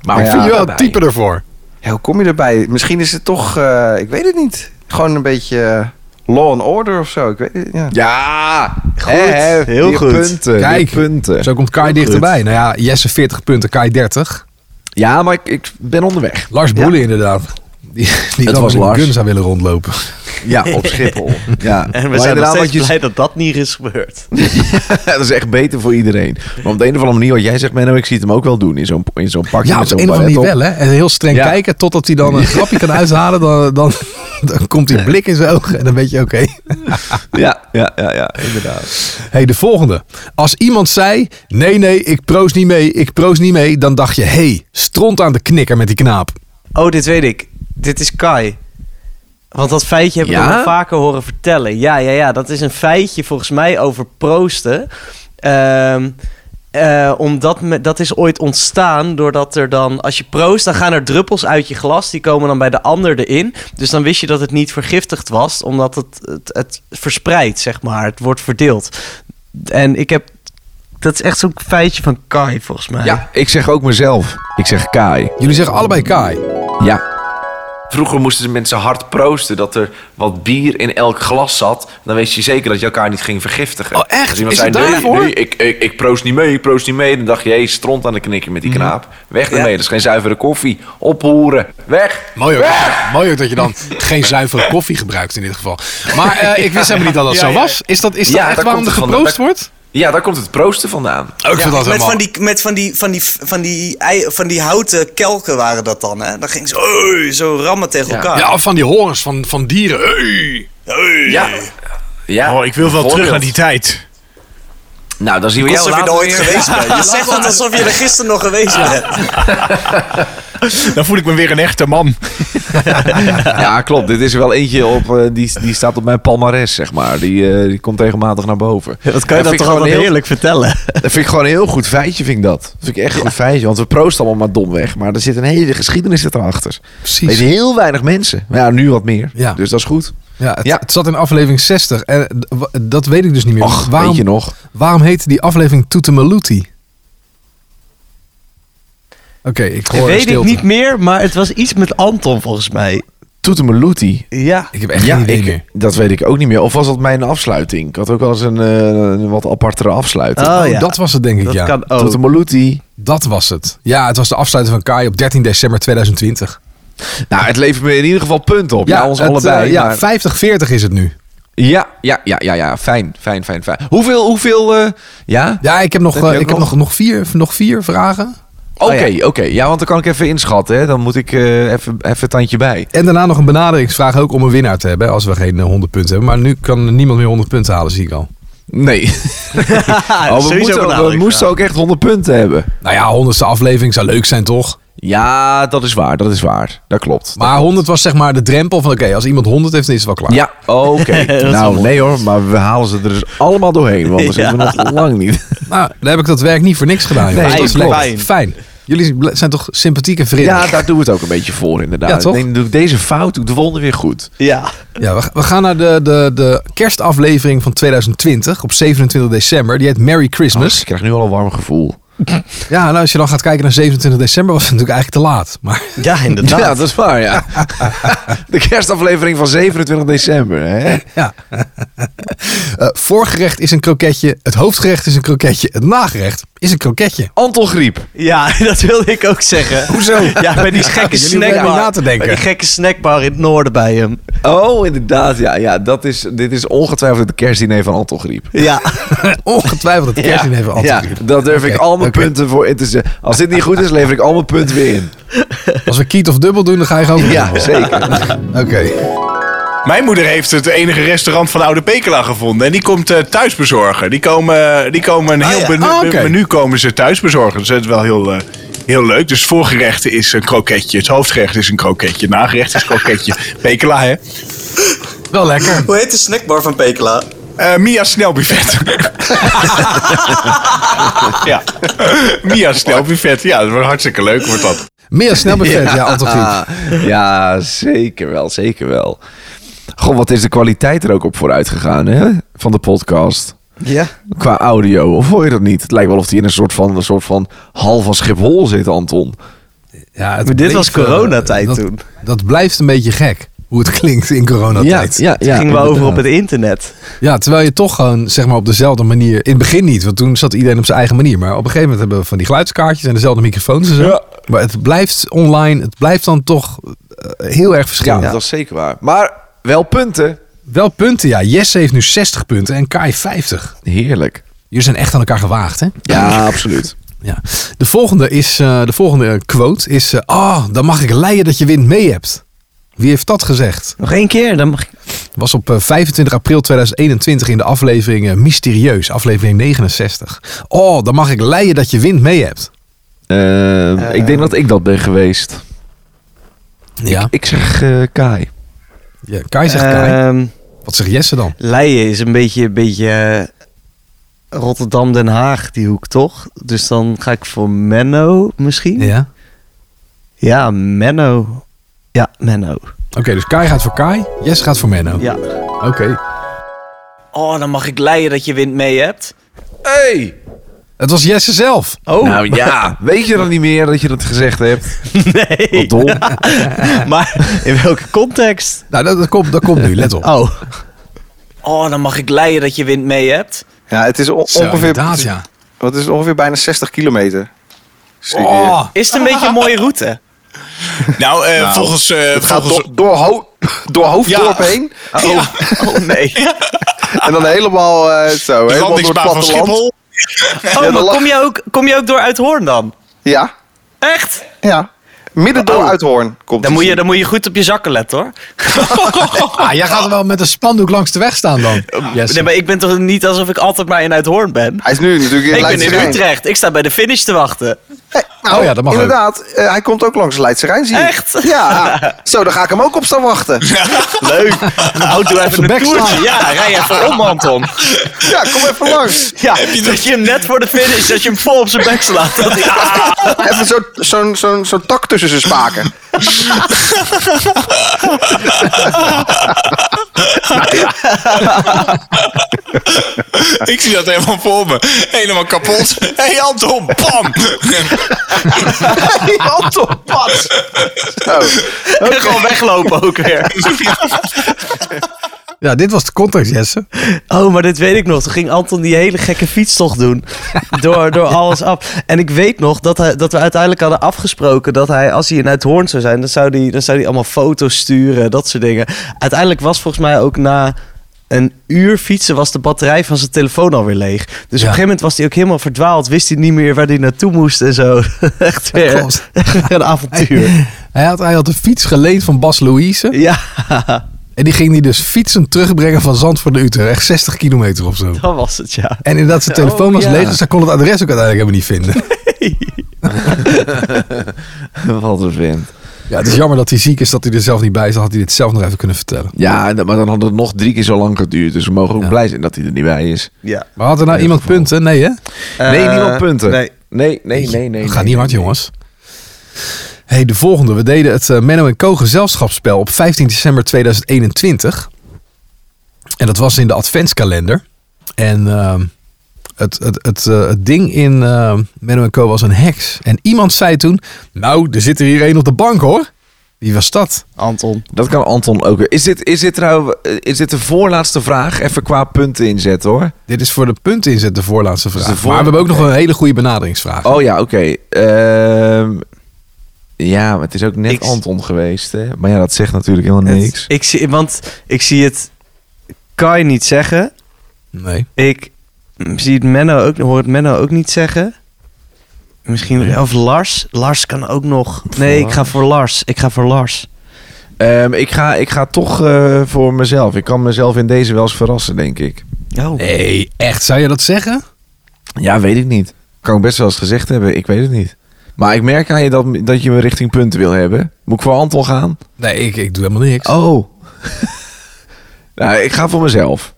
[SPEAKER 8] Maar
[SPEAKER 2] ik
[SPEAKER 3] ja,
[SPEAKER 2] vind je wel
[SPEAKER 8] daarbij.
[SPEAKER 2] het type ervoor.
[SPEAKER 3] Ja, hoe kom je erbij? Misschien is het toch... eh, ik weet het niet. Gewoon een beetje... eh, Law and order of zo. Ik weet het, ja.
[SPEAKER 8] Ja, goed.
[SPEAKER 4] heel goed.
[SPEAKER 8] Punten, weer
[SPEAKER 2] Kijk.
[SPEAKER 8] punten.
[SPEAKER 2] Zo komt Kai dichterbij. Nou ja, Jesse 40 punten, Kai 30.
[SPEAKER 8] Ja, maar ik, ik ben onderweg.
[SPEAKER 2] Lars Boelen inderdaad. Die, die
[SPEAKER 8] Het
[SPEAKER 2] dan
[SPEAKER 8] was
[SPEAKER 2] was
[SPEAKER 8] Lars.
[SPEAKER 2] gun zou willen rondlopen.
[SPEAKER 8] Ja, op Schiphol. ja.
[SPEAKER 4] En we
[SPEAKER 8] Maar
[SPEAKER 4] zijn nog
[SPEAKER 8] inderdaad
[SPEAKER 4] steeds
[SPEAKER 8] wat je-
[SPEAKER 4] blij dat dat niet is gebeurd.
[SPEAKER 8] dat is echt beter voor iedereen. Maar op de een of andere manier, wat jij zegt, Menno, ik zie het hem ook wel doen in zo'n in zo'n pakje.
[SPEAKER 2] Ja, op de
[SPEAKER 8] met zo'n
[SPEAKER 2] een of andere manier
[SPEAKER 8] baret op.
[SPEAKER 2] wel, hè. En heel streng
[SPEAKER 8] Ja.
[SPEAKER 2] kijken totdat hij dan een grapje kan uithalen. Dan, dan, dan komt die blik in zijn ogen en dan weet je, oké.
[SPEAKER 8] Ja, ja, ja, ja, inderdaad.
[SPEAKER 2] hey, de volgende. Als iemand zei, nee, nee, ik proost niet mee, ik proost niet mee. Dan dacht je, hé, hey, stront aan de knikker met die knaap.
[SPEAKER 4] Oh, dit weet ik. Dit is Kai. Want dat feitje heb ik
[SPEAKER 8] Ja?
[SPEAKER 4] nog wel vaker horen vertellen. Ja, ja, ja. Dat is een feitje volgens mij over proosten. Ehm, eh, omdat me, dat is ooit ontstaan doordat er dan... Als je proost, dan gaan er druppels uit je glas. Die komen dan bij de ander erin. Dus dan wist je dat het niet vergiftigd was. Omdat het, het, het verspreidt, zeg maar. Het wordt verdeeld. En ik heb... Dat is echt zo'n feitje van Kai, volgens mij.
[SPEAKER 8] Ja, ik zeg ook mezelf. Ik zeg Kai.
[SPEAKER 2] Jullie zeggen allebei Kai.
[SPEAKER 8] Ja.
[SPEAKER 9] Vroeger moesten de mensen hard proosten dat er wat bier in elk glas zat. Dan wist je zeker dat je elkaar niet ging vergiftigen.
[SPEAKER 2] Oh, echt?
[SPEAKER 9] Als iemand
[SPEAKER 2] Is
[SPEAKER 9] zei,
[SPEAKER 2] het
[SPEAKER 9] nee,
[SPEAKER 2] daarvoor?
[SPEAKER 9] nee, ik, ik, ik proost niet mee, ik proost niet mee. Dan dacht je, hé, stront aan de knikker met die
[SPEAKER 8] Mhm.
[SPEAKER 9] knaap. Weg ermee, dat is geen zuivere koffie. Ophoeren, weg.
[SPEAKER 2] Mooi ook, mooi ook dat je dan geen zuivere koffie gebruikt in dit geval. Maar eh, ik wist helemaal niet dat dat zo was. Is dat, is dat
[SPEAKER 9] Ja,
[SPEAKER 2] echt
[SPEAKER 9] daar
[SPEAKER 2] waarom er
[SPEAKER 9] komt het
[SPEAKER 2] geproost
[SPEAKER 9] vandaan.
[SPEAKER 2] wordt?
[SPEAKER 9] Ja, daar komt het proosten vandaan.
[SPEAKER 2] Oh, ik vind dat
[SPEAKER 10] met
[SPEAKER 2] helemaal...
[SPEAKER 10] van die, met van die, van die, van die, ei- van die houten kelken waren dat dan, hè? Dan ging ze "Oei", zo rammen tegen elkaar.
[SPEAKER 2] Ja, of van die horens van, van dieren. Hey.
[SPEAKER 9] Ja. ja.
[SPEAKER 5] Oh, ik wil wel terug
[SPEAKER 9] Bijvoorbeeld.
[SPEAKER 5] naar die tijd.
[SPEAKER 9] Nou, dan zien we jou
[SPEAKER 10] Alsof je
[SPEAKER 9] later
[SPEAKER 10] er ooit
[SPEAKER 9] weer.
[SPEAKER 10] geweest bent. Je zegt het alsof je er gisteren nog geweest bent.
[SPEAKER 5] Dan voel ik me weer een echte man.
[SPEAKER 8] Ja, klopt. Dit is wel eentje op, eh, die, die staat op mijn palmares, zeg maar. Die, eh, die komt regelmatig naar boven.
[SPEAKER 4] Dat kan je dan
[SPEAKER 8] vind ik
[SPEAKER 4] toch
[SPEAKER 8] gewoon
[SPEAKER 4] altijd
[SPEAKER 8] heel-
[SPEAKER 4] heerlijk vertellen.
[SPEAKER 8] Dat vind ik gewoon een heel goed feitje, vind ik dat. Dat vind ik echt een goed feitje, want we proosten allemaal maar dom weg. Maar er zit een hele geschiedenis erachter. Er
[SPEAKER 2] Precies.
[SPEAKER 8] weten heel weinig mensen. Maar ja, nu wat meer.
[SPEAKER 2] Ja.
[SPEAKER 8] Dus dat is goed.
[SPEAKER 2] Ja, het,
[SPEAKER 8] Ja.
[SPEAKER 2] het zat in aflevering 60. En eh, d- wa- dat weet ik dus niet meer.
[SPEAKER 8] Och,
[SPEAKER 2] waarom,
[SPEAKER 8] weet je nog?
[SPEAKER 2] waarom heette die aflevering Toetemaluti? Oké, ik hoor
[SPEAKER 4] Dat weet
[SPEAKER 2] stilte.
[SPEAKER 4] ik niet meer, maar het was iets met Anton volgens mij.
[SPEAKER 8] Toetemeloetie.
[SPEAKER 4] Ja.
[SPEAKER 2] Ik heb echt geen idee
[SPEAKER 8] ik,
[SPEAKER 2] meer.
[SPEAKER 8] dat weet ik ook niet meer. Of was dat mijn afsluiting? Ik had ook wel eens een, eh, een wat apartere afsluiting.
[SPEAKER 4] Oh, ja.
[SPEAKER 2] Dat was het, denk ik,
[SPEAKER 4] Dat
[SPEAKER 2] ja.
[SPEAKER 4] kan ook.
[SPEAKER 8] Toetemeloetie.
[SPEAKER 2] Dat was het. Ja, het was de afsluiting van Kai op 13 december 2020.
[SPEAKER 8] Nou, het levert me in ieder geval punten op. Ja, ons
[SPEAKER 2] het,
[SPEAKER 8] allebei.
[SPEAKER 2] eh, ja,
[SPEAKER 8] maar-
[SPEAKER 2] 50-40 is het nu.
[SPEAKER 8] ja, ja, ja, ja, ja. Fijn, fijn, fijn, fijn. Hoeveel, hoeveel... eh, ja?
[SPEAKER 2] Ja, ik heb nog,
[SPEAKER 8] Heb je
[SPEAKER 2] eh,
[SPEAKER 8] ook
[SPEAKER 2] ik heb
[SPEAKER 8] nog?
[SPEAKER 2] nog, nog, vier, nog vier vragen.
[SPEAKER 8] Oké, oké. Oh, Ja, want dan kan ik even inschatten. Hè. Dan moet ik eh, even, even het tandje bij.
[SPEAKER 2] En daarna nog een benaderingsvraag ook om een winnaar te hebben. Als we geen eh, 100 punten hebben. Maar nu kan niemand meer 100 punten halen, zie ik al.
[SPEAKER 8] Nee. oh, we, moeten, ook- we moesten ook echt 100 punten hebben.
[SPEAKER 2] Nou ja, 100ste aflevering zou leuk zijn, toch?
[SPEAKER 8] Ja, dat is waar. Dat is waar. Dat klopt.
[SPEAKER 2] Maar 100 was zeg maar de drempel van oké, als iemand 100 heeft, dan is het wel klaar.
[SPEAKER 8] Ja, oké. nou, nee hoor. Maar we halen ze er dus allemaal doorheen. Want dan zitten we nog lang niet.
[SPEAKER 2] Nou, dan heb ik dat werk niet voor niks gedaan. jongens.
[SPEAKER 8] Nee,
[SPEAKER 2] dat is
[SPEAKER 8] klopt.
[SPEAKER 2] leuk. Fijn. Jullie bl- zijn toch sympathiek en vriendelijk?
[SPEAKER 8] Ja, daar doen we het ook een beetje voor inderdaad.
[SPEAKER 2] Ja, toch?
[SPEAKER 8] Nee, dan doe ik deze fout, doe ik de volgende weer goed.
[SPEAKER 4] Ja.
[SPEAKER 2] Ja, we, we gaan naar de, de, de kerstaflevering van 2020 op 27 december. Die heet Merry
[SPEAKER 8] Dus
[SPEAKER 2] Christmas.
[SPEAKER 8] ik krijg nu al een warm gevoel.
[SPEAKER 2] Ja, nou als je dan gaat kijken naar 27 december was het natuurlijk eigenlijk te laat. Maar
[SPEAKER 4] Ja, inderdaad.
[SPEAKER 8] Ja, dat is waar, ja. Nou. de kerstaflevering van 27 december, hè?
[SPEAKER 2] ja. Eh, voorgerecht is een kroketje, het hoofdgerecht is een kroketje, het nagerecht is een kroketje.
[SPEAKER 8] Anton Griep.
[SPEAKER 4] Ja, dat wilde ik ook zeggen. Hoezo? Ja, bij die
[SPEAKER 2] Jullie
[SPEAKER 4] gekke
[SPEAKER 2] hoeven
[SPEAKER 4] snackbar.
[SPEAKER 2] niet na te denken.
[SPEAKER 4] Bij die gekke snackbar in het noorden bij hem.
[SPEAKER 8] Oh, inderdaad, ja. ja dat is, dit is ongetwijfeld het kerstdiner van Anton Griep.
[SPEAKER 4] Ja.
[SPEAKER 2] Ongetwijfeld het kerstdiner even
[SPEAKER 8] Ja,
[SPEAKER 2] antwoord.
[SPEAKER 8] daar durf ik al mijn
[SPEAKER 2] oké.
[SPEAKER 8] punten voor in te zetten. Als dit niet goed is, lever ik al mijn punten weer in.
[SPEAKER 2] Als we kiet of dubbel doen, dan ga je gewoon
[SPEAKER 8] Ja,
[SPEAKER 2] dubbel.
[SPEAKER 8] zeker.
[SPEAKER 2] Oké.
[SPEAKER 5] Mijn moeder heeft het enige restaurant van Oude Pekela gevonden. En die komt eh, thuis bezorgen. Die komen, eh, die komen een heel menu,
[SPEAKER 2] Ah, oké.
[SPEAKER 5] menu komen ze thuis bezorgen. Dus dat is wel heel, eh, heel leuk. Dus het voorgerecht is een kroketje. Het hoofdgerecht is een kroketje. Het nagerecht is een kroketje. Pekela, hè?
[SPEAKER 2] Wel lekker.
[SPEAKER 10] Hoe heet de snackbar van Pekela?
[SPEAKER 5] Eh, Mia Snelbuffet. ja. Mia Snelbuffet. Ja, dat wordt hartstikke leuk. Wordt dat.
[SPEAKER 2] Meer snelbuffet, ja, Anton Griep.
[SPEAKER 8] Ja, zeker wel, zeker wel. Goh, wat is de kwaliteit er ook op vooruit gegaan, hè? Van de podcast.
[SPEAKER 4] Ja.
[SPEAKER 8] Qua audio, of hoor je dat niet? Het lijkt wel of die in een soort van, een soort van hal van Schiphol zit, Anton.
[SPEAKER 2] Ja, het
[SPEAKER 4] Maar dit
[SPEAKER 2] bleef,
[SPEAKER 4] was coronatijd
[SPEAKER 2] eh, dat-
[SPEAKER 4] toen.
[SPEAKER 2] Dat blijft een beetje gek, hoe het klinkt in coronatijd. Ja,
[SPEAKER 4] Het ging wel over op het internet.
[SPEAKER 2] terwijl je toch gewoon zeg maar, op dezelfde manier... In het begin niet, want toen zat iedereen op zijn eigen manier. Maar op een gegeven moment hebben we van die geluidskaartjes en dezelfde microfoons en zo. Maar het blijft online, het blijft dan toch eh, heel erg
[SPEAKER 8] Ja,
[SPEAKER 2] verschillend.
[SPEAKER 8] dat is zeker waar. Maar wel punten.
[SPEAKER 2] Wel punten, ja. Jesse heeft nu 60 punten en Kai 50.
[SPEAKER 8] Heerlijk.
[SPEAKER 2] Jullie zijn echt aan elkaar gewaagd, hè?
[SPEAKER 8] Ja, absoluut.
[SPEAKER 2] Ja. De volgende, is, eh, de volgende quote is... eh, Ah, dan mag ik leiden dat je wind mee hebt. Wie heeft dat gezegd?
[SPEAKER 4] Nog één keer, dan mag ik...
[SPEAKER 2] Was op eh, 25 april 2021 in de aflevering eh, Mysterieus, aflevering 69. Oh, dan mag ik leiden dat je wind mee hebt.
[SPEAKER 8] Eh, ik denk dat ik dat ben geweest.
[SPEAKER 2] Ja,
[SPEAKER 8] Ik zeg eh, Kai.
[SPEAKER 2] ja Kai zegt Kai.
[SPEAKER 4] Ehm,
[SPEAKER 2] Wat zegt Jesse dan?
[SPEAKER 4] Leien is een beetje, een beetje eh, Rotterdam-Den Haag, die hoek, toch? Dus dan ga ik voor Menno misschien. Ja,
[SPEAKER 2] Ja.
[SPEAKER 4] Menno. Ja, Menno.
[SPEAKER 2] Oké, dus Kai gaat voor Kai, Jesse gaat voor Menno.
[SPEAKER 4] Ja.
[SPEAKER 2] Oké.
[SPEAKER 10] Oh, dan mag ik leien dat je wind mee hebt.
[SPEAKER 8] Hey!
[SPEAKER 2] Het was Jesse zelf.
[SPEAKER 4] Oh,
[SPEAKER 8] Nou ja, weet je dan niet meer dat je dat gezegd hebt?
[SPEAKER 4] nee.
[SPEAKER 8] Wat dom.
[SPEAKER 4] maar in welke context?
[SPEAKER 2] Nou, dat, dat, komt, dat komt nu, let op.
[SPEAKER 4] Oh,
[SPEAKER 10] Oh, dan mag ik leien dat je wind mee hebt.
[SPEAKER 3] Ja, het is on-
[SPEAKER 2] Zo,
[SPEAKER 3] ongeveer,
[SPEAKER 2] inderdaad, ja.
[SPEAKER 3] wat is het, ongeveer bijna 60 kilometer.
[SPEAKER 2] Oh,
[SPEAKER 10] Is het een beetje een mooie route?
[SPEAKER 5] Nou, eh, volgens... eh,
[SPEAKER 3] Het gaat
[SPEAKER 5] volgens-
[SPEAKER 3] door, door, ho- door Hoofddorp
[SPEAKER 5] Ja.
[SPEAKER 3] heen.
[SPEAKER 10] Oh nee.
[SPEAKER 3] En dan helemaal eh, zo.
[SPEAKER 5] de
[SPEAKER 3] helemaal door het
[SPEAKER 5] landingsbaan van
[SPEAKER 3] platteland.
[SPEAKER 5] Schiphol.
[SPEAKER 10] Oh,
[SPEAKER 3] dan
[SPEAKER 10] maar
[SPEAKER 3] lag-
[SPEAKER 10] kom je ook, kom je ook door Uithoorn dan?
[SPEAKER 3] Ja,
[SPEAKER 10] Echt?
[SPEAKER 3] ja. Midden door Uithoorn komt
[SPEAKER 10] Dan
[SPEAKER 3] die
[SPEAKER 10] moet, je,
[SPEAKER 3] zien.
[SPEAKER 10] dan moet je goed op je zakken letten hoor.
[SPEAKER 2] Ah, jij gaat wel met een spandoek langs de weg staan dan. Yes.
[SPEAKER 10] Nee, maar ik ben toch niet alsof ik altijd maar in Uithoorn ben?
[SPEAKER 3] Hij is nu natuurlijk in
[SPEAKER 10] Ik ben
[SPEAKER 3] Leidse
[SPEAKER 10] in
[SPEAKER 3] Rijn.
[SPEAKER 10] Utrecht. Ik sta bij de finish te wachten.
[SPEAKER 3] Nou,
[SPEAKER 2] Oh ja, dat mag ook.
[SPEAKER 3] Inderdaad, eh, hij komt ook langs de Leidse Rijn, zie ik.
[SPEAKER 10] Echt?
[SPEAKER 3] Ja, zo, dan ga ik hem ook op staan wachten.
[SPEAKER 10] Leuk. Houd doe
[SPEAKER 2] de
[SPEAKER 10] even een
[SPEAKER 2] bek
[SPEAKER 10] toertje.
[SPEAKER 2] slaan.
[SPEAKER 10] Ja, rij even om Anton.
[SPEAKER 3] Ja, kom even langs.
[SPEAKER 10] Ja, dat je hem net voor de finish, dat je hem vol op zijn bek slaat. Dat hij- Ah,
[SPEAKER 3] Even zo'n zo'n zo'n zo'n tak tussen zijn spaken.
[SPEAKER 5] Ik zie dat helemaal voor me. Helemaal kapot. Hé hey Anton, pam!
[SPEAKER 3] Die hand op pad. Zo.
[SPEAKER 10] en Oh, gewoon weglopen ook weer.
[SPEAKER 2] Ja, dit was de context, Jesse.
[SPEAKER 4] Oh, maar dit weet ik nog. Toen ging Anton die hele gekke fietstocht doen. Door, door alles af. En ik weet nog dat, hij, dat we uiteindelijk hadden afgesproken... dat hij, als hij in Uithoorn zou zijn... dan zou hij, dan zou hij allemaal foto's sturen, dat soort dingen. Uiteindelijk was volgens mij ook na een uur fietsen... was de batterij van zijn telefoon alweer leeg. Dus op een gegeven moment was hij ook helemaal verdwaald. Wist hij niet meer waar hij naartoe moest en zo. Echt weer,
[SPEAKER 2] klopt.
[SPEAKER 4] echt weer een avontuur.
[SPEAKER 2] Hij had, hij had een fiets geleend van Bas Louise.
[SPEAKER 4] Ja,
[SPEAKER 2] En die ging hij dus fietsend terugbrengen van Zandvoort naar Utrecht. 60 kilometer of zo.
[SPEAKER 4] dat was het, ja.
[SPEAKER 2] En inderdaad, zijn telefoon was
[SPEAKER 4] ja.
[SPEAKER 2] leeg, dus hij kon het adres ook uiteindelijk helemaal niet vinden.
[SPEAKER 8] Wat een vent.
[SPEAKER 2] Ja, het is jammer dat hij ziek is, dat hij er zelf niet bij is. Dan had hij dit zelf nog even kunnen vertellen.
[SPEAKER 8] Ja, en dat- maar dan had het nog drie keer zo lang geduurd. Dus we mogen ook blij zijn dat hij er niet bij is.
[SPEAKER 4] ja.
[SPEAKER 2] Maar had er nou iemand punten? Nee, hè?
[SPEAKER 8] nee,
[SPEAKER 4] Eh,
[SPEAKER 8] niemand punten.
[SPEAKER 4] nee.
[SPEAKER 8] Nee, nee, nee, nee. nee
[SPEAKER 2] Dat gaat niet hard, jongens. hey, de volgende. We deden het eh, Menno en Co. gezelschapsspel op 15 december 2021. En dat was in de adventskalender. En ehm, het, het, het, eh, het ding in eh, Menno en Co. was een heks. En iemand zei toen, nou, er zit er hier een op de bank, hoor. Wie was dat?
[SPEAKER 4] Anton.
[SPEAKER 8] Dat kan Anton ook. weer. Is dit, is dit, trouwens, eh, is dit de voorlaatste vraag? Even qua punten inzet hoor.
[SPEAKER 2] Dit is voor de punten inzet de voorlaatste vraag.
[SPEAKER 8] Dus de voor-
[SPEAKER 2] Maar we hebben ook nog een hele goede benaderingsvraag.
[SPEAKER 8] Oh ja, oké. Ehm, ja, maar het is ook net
[SPEAKER 4] Ik-
[SPEAKER 8] Anton geweest. Hè? Maar ja, dat zegt natuurlijk helemaal niks.
[SPEAKER 4] Ik zie, want ik zie het... Kan je niet zeggen...
[SPEAKER 2] Nee.
[SPEAKER 4] Ik zie het Menno ook, hoor het Menno ook niet zeggen. Misschien, of Lars. Lars kan ook nog. Nee, ik ga voor Lars. Ik ga voor Lars.
[SPEAKER 8] Ehm, ik, ga, ik ga toch eh, voor mezelf. Ik kan mezelf in deze wel eens verrassen, denk ik.
[SPEAKER 4] Oh.
[SPEAKER 2] Nee, echt? Zou je dat zeggen?
[SPEAKER 8] Ja, weet ik niet. Kan ik best wel eens gezegd hebben. Ik weet het niet. Maar ik merk aan je dat, dat je me richting punten wil hebben. Moet ik voor Anton gaan?
[SPEAKER 2] Nee, ik, ik doe helemaal niks.
[SPEAKER 8] Oh. nou, ik ga voor mezelf.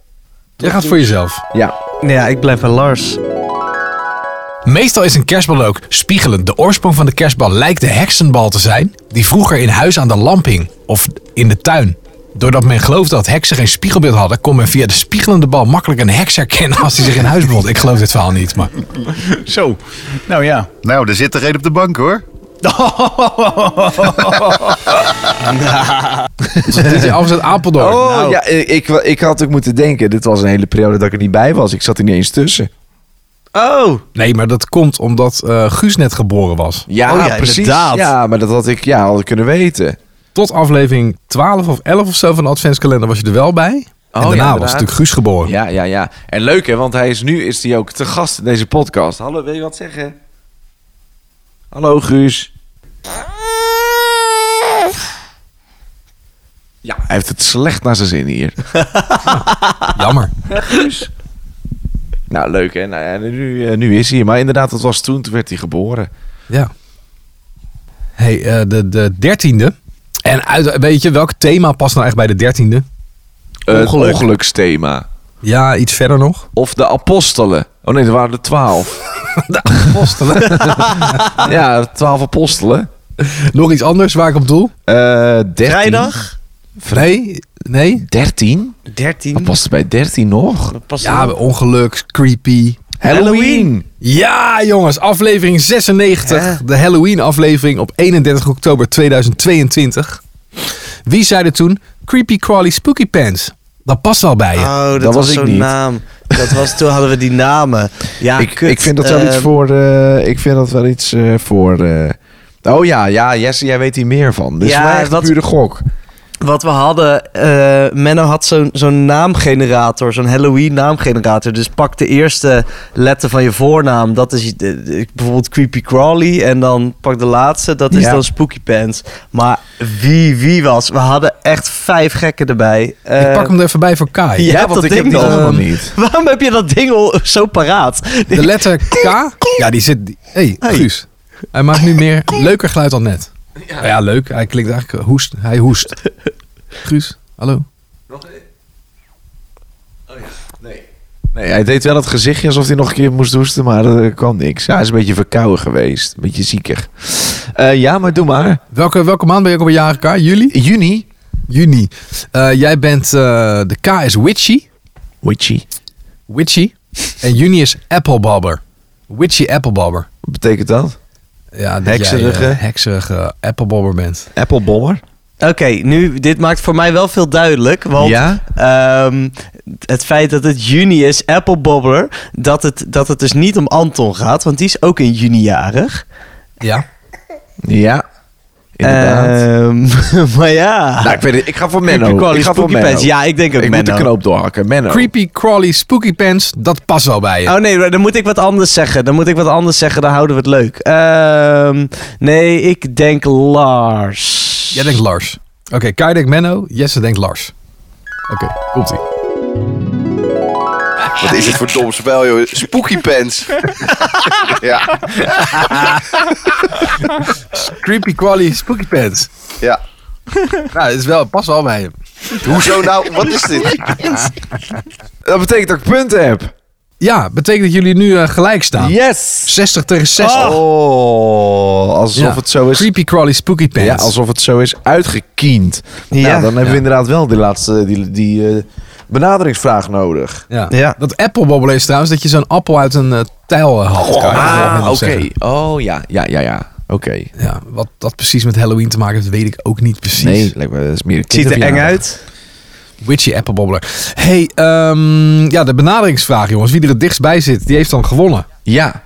[SPEAKER 2] Jij gaat voor jezelf.
[SPEAKER 8] Ja.
[SPEAKER 4] Nee, ja, ik blijf bij Lars.
[SPEAKER 2] Meestal is een kerstbal ook spiegelend. De oorsprong van de kerstbal lijkt de heksenbal te zijn, die vroeger in huis aan de lamp hing of in de tuin. Doordat men geloofde dat heksen geen spiegelbeeld hadden, kon men via de spiegelende bal makkelijk een heks herkennen als hij zich in huis bevond. Ik geloof dit verhaal niet, maar
[SPEAKER 5] Zo. Nou ja.
[SPEAKER 11] Nou, er zit er een op de bank hoor.
[SPEAKER 2] dit is afzet Apeldoorn. Nou,
[SPEAKER 8] Oh, ja, eh, ik, wa- ik had ook moeten denken. Dit was een hele periode dat ik er niet bij was. Ik zat er niet eens tussen.
[SPEAKER 4] Oh.
[SPEAKER 2] Nee, maar dat komt omdat eh, Guus net geboren was.
[SPEAKER 8] Ja,
[SPEAKER 4] Oh ja,
[SPEAKER 8] precies.
[SPEAKER 4] inderdaad.
[SPEAKER 8] Ja, maar dat had ik ja, had ik kunnen weten.
[SPEAKER 2] Tot aflevering 12 of 11 of zo van de Adventskalender was je er wel bij. en
[SPEAKER 8] Oh,
[SPEAKER 2] daarna
[SPEAKER 8] ja,
[SPEAKER 2] was
[SPEAKER 8] inderdaad.
[SPEAKER 2] natuurlijk Guus geboren.
[SPEAKER 8] Ja, ja, ja. En leuk hè, want hij is nu is hij ook te gast in deze podcast. Hallo, wil je wat zeggen? Hallo Guus. Ja, hij heeft het slecht naar zijn zin hier.
[SPEAKER 2] Jammer.
[SPEAKER 8] nou, leuk hè. Nou, ja, nu, eh, nu is hij hier. Maar inderdaad, dat was toen. Toen werd hij geboren.
[SPEAKER 2] Ja. Hey, eh, de, de dertiende. En uit, weet je, welk thema past nou echt bij de dertiende?
[SPEAKER 8] Eh, het
[SPEAKER 2] Ongeluk.
[SPEAKER 8] ongeluksthema.
[SPEAKER 2] Ja, iets verder nog.
[SPEAKER 8] Of de apostelen. Oh nee, er waren er twaalf.
[SPEAKER 2] Apostelen.
[SPEAKER 8] ja, twaalf apostelen.
[SPEAKER 2] nog iets anders waar ik op doel?
[SPEAKER 8] Eh 13.
[SPEAKER 4] Vrijdag?
[SPEAKER 2] Nee, nee.
[SPEAKER 8] 13?
[SPEAKER 4] 13.
[SPEAKER 8] Wat past er bij 13 nog?
[SPEAKER 4] Pas
[SPEAKER 2] Ja, ongeluk, creepy.
[SPEAKER 8] Halloween.
[SPEAKER 2] Ja, jongens, aflevering 96. De Halloween-aflevering op 31 oktober 2022. Wie zei er toen? Creepy Crawly Spooky Pants. Dat past wel bij je.
[SPEAKER 4] Oh, dat, was,
[SPEAKER 8] Dat was ik
[SPEAKER 4] zo'n
[SPEAKER 8] niet.
[SPEAKER 4] naam. Dat was, toen hadden we die namen. Ja,
[SPEAKER 8] ik,
[SPEAKER 4] kut.
[SPEAKER 8] ik vind dat wel iets
[SPEAKER 4] Ehm,
[SPEAKER 8] voor... eh, ik vind dat wel iets eh, voor... eh, oh ja, ja, Jesse, jij weet hier meer van. Dus
[SPEAKER 4] Ja,
[SPEAKER 8] ja,
[SPEAKER 4] dat-
[SPEAKER 8] pure gok.
[SPEAKER 4] Wat we hadden, eh Menno had zo'n zo'n naamgenerator, zo'n Halloween naamgenerator. Dus pak de eerste letter van je voornaam, dat is eh, eh, bijvoorbeeld Creepy Crawly. En dan pak de laatste, dat is
[SPEAKER 2] Ja.
[SPEAKER 4] dan Spooky Pants. Maar wie, wie was? We hadden echt vijf gekken erbij.
[SPEAKER 2] ik
[SPEAKER 4] Eh,
[SPEAKER 2] pak hem er even bij voor Kai.
[SPEAKER 4] Ja, want ik heb die allemaal
[SPEAKER 8] niet.
[SPEAKER 4] Waarom heb je dat ding al zo paraat?
[SPEAKER 2] De letter K. Ja, die zit. die- hey, Guus. Hij maakt nu meer leuker geluid dan net. Ja, ja leuk. Hij klinkt eigenlijk hoest. Hij hoest. Guus, hallo.
[SPEAKER 8] Nee, hij deed wel het gezichtje alsof hij nog een keer moest hoesten, maar dat kwam niks. Ja, hij is een beetje verkouden geweest. Een beetje zieker. Eh, ja, maar doe maar.
[SPEAKER 2] Welke, welke maand ben je ook op een jaar K? Juli?
[SPEAKER 8] Juni.
[SPEAKER 2] Juni. Eh, jij bent. eh, de K is Witchy.
[SPEAKER 8] Witchy.
[SPEAKER 2] Witchy. En juni is Applebobber. Witchy Applebobber.
[SPEAKER 8] Wat betekent dat?
[SPEAKER 2] Ja, dat
[SPEAKER 8] Hekserige.
[SPEAKER 2] Jij, eh, hekserige Applebobber bent.
[SPEAKER 8] Applebomber?
[SPEAKER 4] Oké, nu, dit maakt voor mij wel veel duidelijk. Want
[SPEAKER 8] Ja?
[SPEAKER 4] ehm, het feit dat het juni is, Apple Bobbler, dat het, dat het dus niet om Anton gaat, want die is ook in juni jarig.
[SPEAKER 2] Ja.
[SPEAKER 8] Ja. Inderdaad.
[SPEAKER 4] Ehm, maar ja.
[SPEAKER 8] nou, ik, weet het, ik ga voor Menno.
[SPEAKER 4] Creepy Crawly,
[SPEAKER 8] ik ga voor
[SPEAKER 4] Spooky Pants. Ja, ik denk ook
[SPEAKER 8] ik moet de
[SPEAKER 4] Menno.
[SPEAKER 8] knoop doorhakken. Menno.
[SPEAKER 2] Creepy, crawly, spooky pants. Dat past wel bij je.
[SPEAKER 4] Oh nee, dan moet ik wat anders zeggen. Dan moet ik wat anders zeggen, dan houden we het leuk. Ehm, nee, ik denk Lars.
[SPEAKER 2] Jij denkt Lars. Oké, Kai denkt Menno. Jesse denkt Lars. Oké, komt-ie.
[SPEAKER 3] Wat is het voor dom spel, joh? Spooky pants. ja,
[SPEAKER 2] Creepy Crawly Spooky Pants.
[SPEAKER 3] ja.
[SPEAKER 2] Nou, dat is wel, pas wel bij hem.
[SPEAKER 3] Hoezo nou? Wat is dit?
[SPEAKER 8] Dat betekent dat ik punten heb.
[SPEAKER 2] Ja, betekent dat jullie nu eh, gelijk staan.
[SPEAKER 8] Yes!
[SPEAKER 2] 60 tegen 60.
[SPEAKER 8] Oh, alsof
[SPEAKER 2] Ja.
[SPEAKER 8] het zo is.
[SPEAKER 2] Creepy Crawly Spooky Pants.
[SPEAKER 8] Ja, alsof het zo is uitgekiend. Ja,
[SPEAKER 4] Ja.
[SPEAKER 8] dan hebben
[SPEAKER 2] Ja.
[SPEAKER 8] we inderdaad wel die laatste die, die eh, benaderingsvraag nodig.
[SPEAKER 2] Ja.
[SPEAKER 4] Ja.
[SPEAKER 2] Dat appelbobbelen is trouwens dat je zo'n appel uit een eh, tijl eh, haalt. Kai, dat wil ik net
[SPEAKER 8] ah,
[SPEAKER 2] nog
[SPEAKER 8] oké.
[SPEAKER 2] zeggen.
[SPEAKER 8] Oh ja, ja, ja, ja. Oké.
[SPEAKER 2] Ja, wat dat precies met Halloween te maken heeft, weet ik ook niet precies.
[SPEAKER 8] Nee, lijkt me dat is meer een
[SPEAKER 4] Het ziet er eng
[SPEAKER 8] kinderverjaardag.
[SPEAKER 4] uit.
[SPEAKER 2] Witchy appelbobbler. hey, ehm, ja, de benaderingsvraag jongens. Wie er het dichtst bij zit, die heeft dan gewonnen.
[SPEAKER 8] Ja.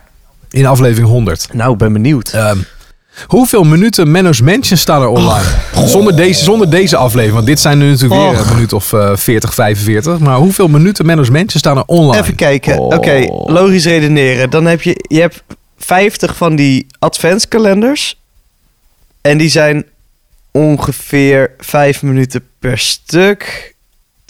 [SPEAKER 2] In aflevering 100.
[SPEAKER 4] Nou, ik ben benieuwd.
[SPEAKER 2] Ehm, hoeveel minuten Menno's Mansion staan er online? Zonder, deze, zonder deze aflevering. Want dit zijn nu natuurlijk weer
[SPEAKER 4] Och.
[SPEAKER 2] een minuut of eh 40, 45. Maar hoeveel minuten Menno's Mansion staan er online?
[SPEAKER 4] Even kijken. Oké, logisch redeneren. Dan heb je, je hebt 50 van die adventskalenders. En die zijn ongeveer 5 minuten per stuk.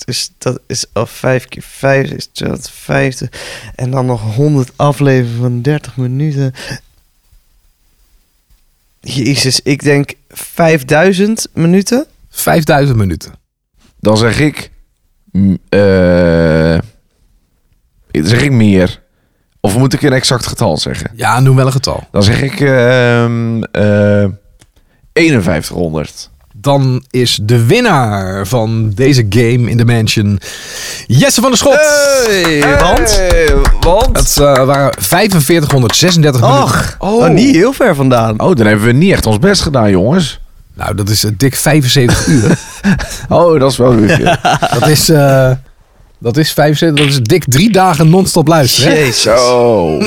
[SPEAKER 4] Dus dat is al 5 keer 5 is 250. En dan nog 100 afleveringen van 30 minuten. Jezus, ik denk 5000 minuten.
[SPEAKER 2] 5000 minuten.
[SPEAKER 8] Dan zeg ik... mm, eh, dan zeg ik meer. Of moet ik een exact getal zeggen?
[SPEAKER 2] Ja, noem wel een getal.
[SPEAKER 8] Dan zeg ik... ehm eh 5100.
[SPEAKER 2] Dan is de winnaar van deze game in de mansion Jesse van der Schot.
[SPEAKER 4] want?
[SPEAKER 8] want?
[SPEAKER 2] Dat eh, waren 4536 minuten.
[SPEAKER 4] Och, oh. niet heel ver vandaan.
[SPEAKER 8] Oh, dan hebben we niet echt ons best gedaan, jongens.
[SPEAKER 2] Nou, dat is eh, dik 75 uur.
[SPEAKER 8] Oh, dat is wel leuk. ja.
[SPEAKER 2] dat is... eh, dat is 75, dat is dik drie dagen non-stop luisteren. hè?
[SPEAKER 8] Zo. Oh.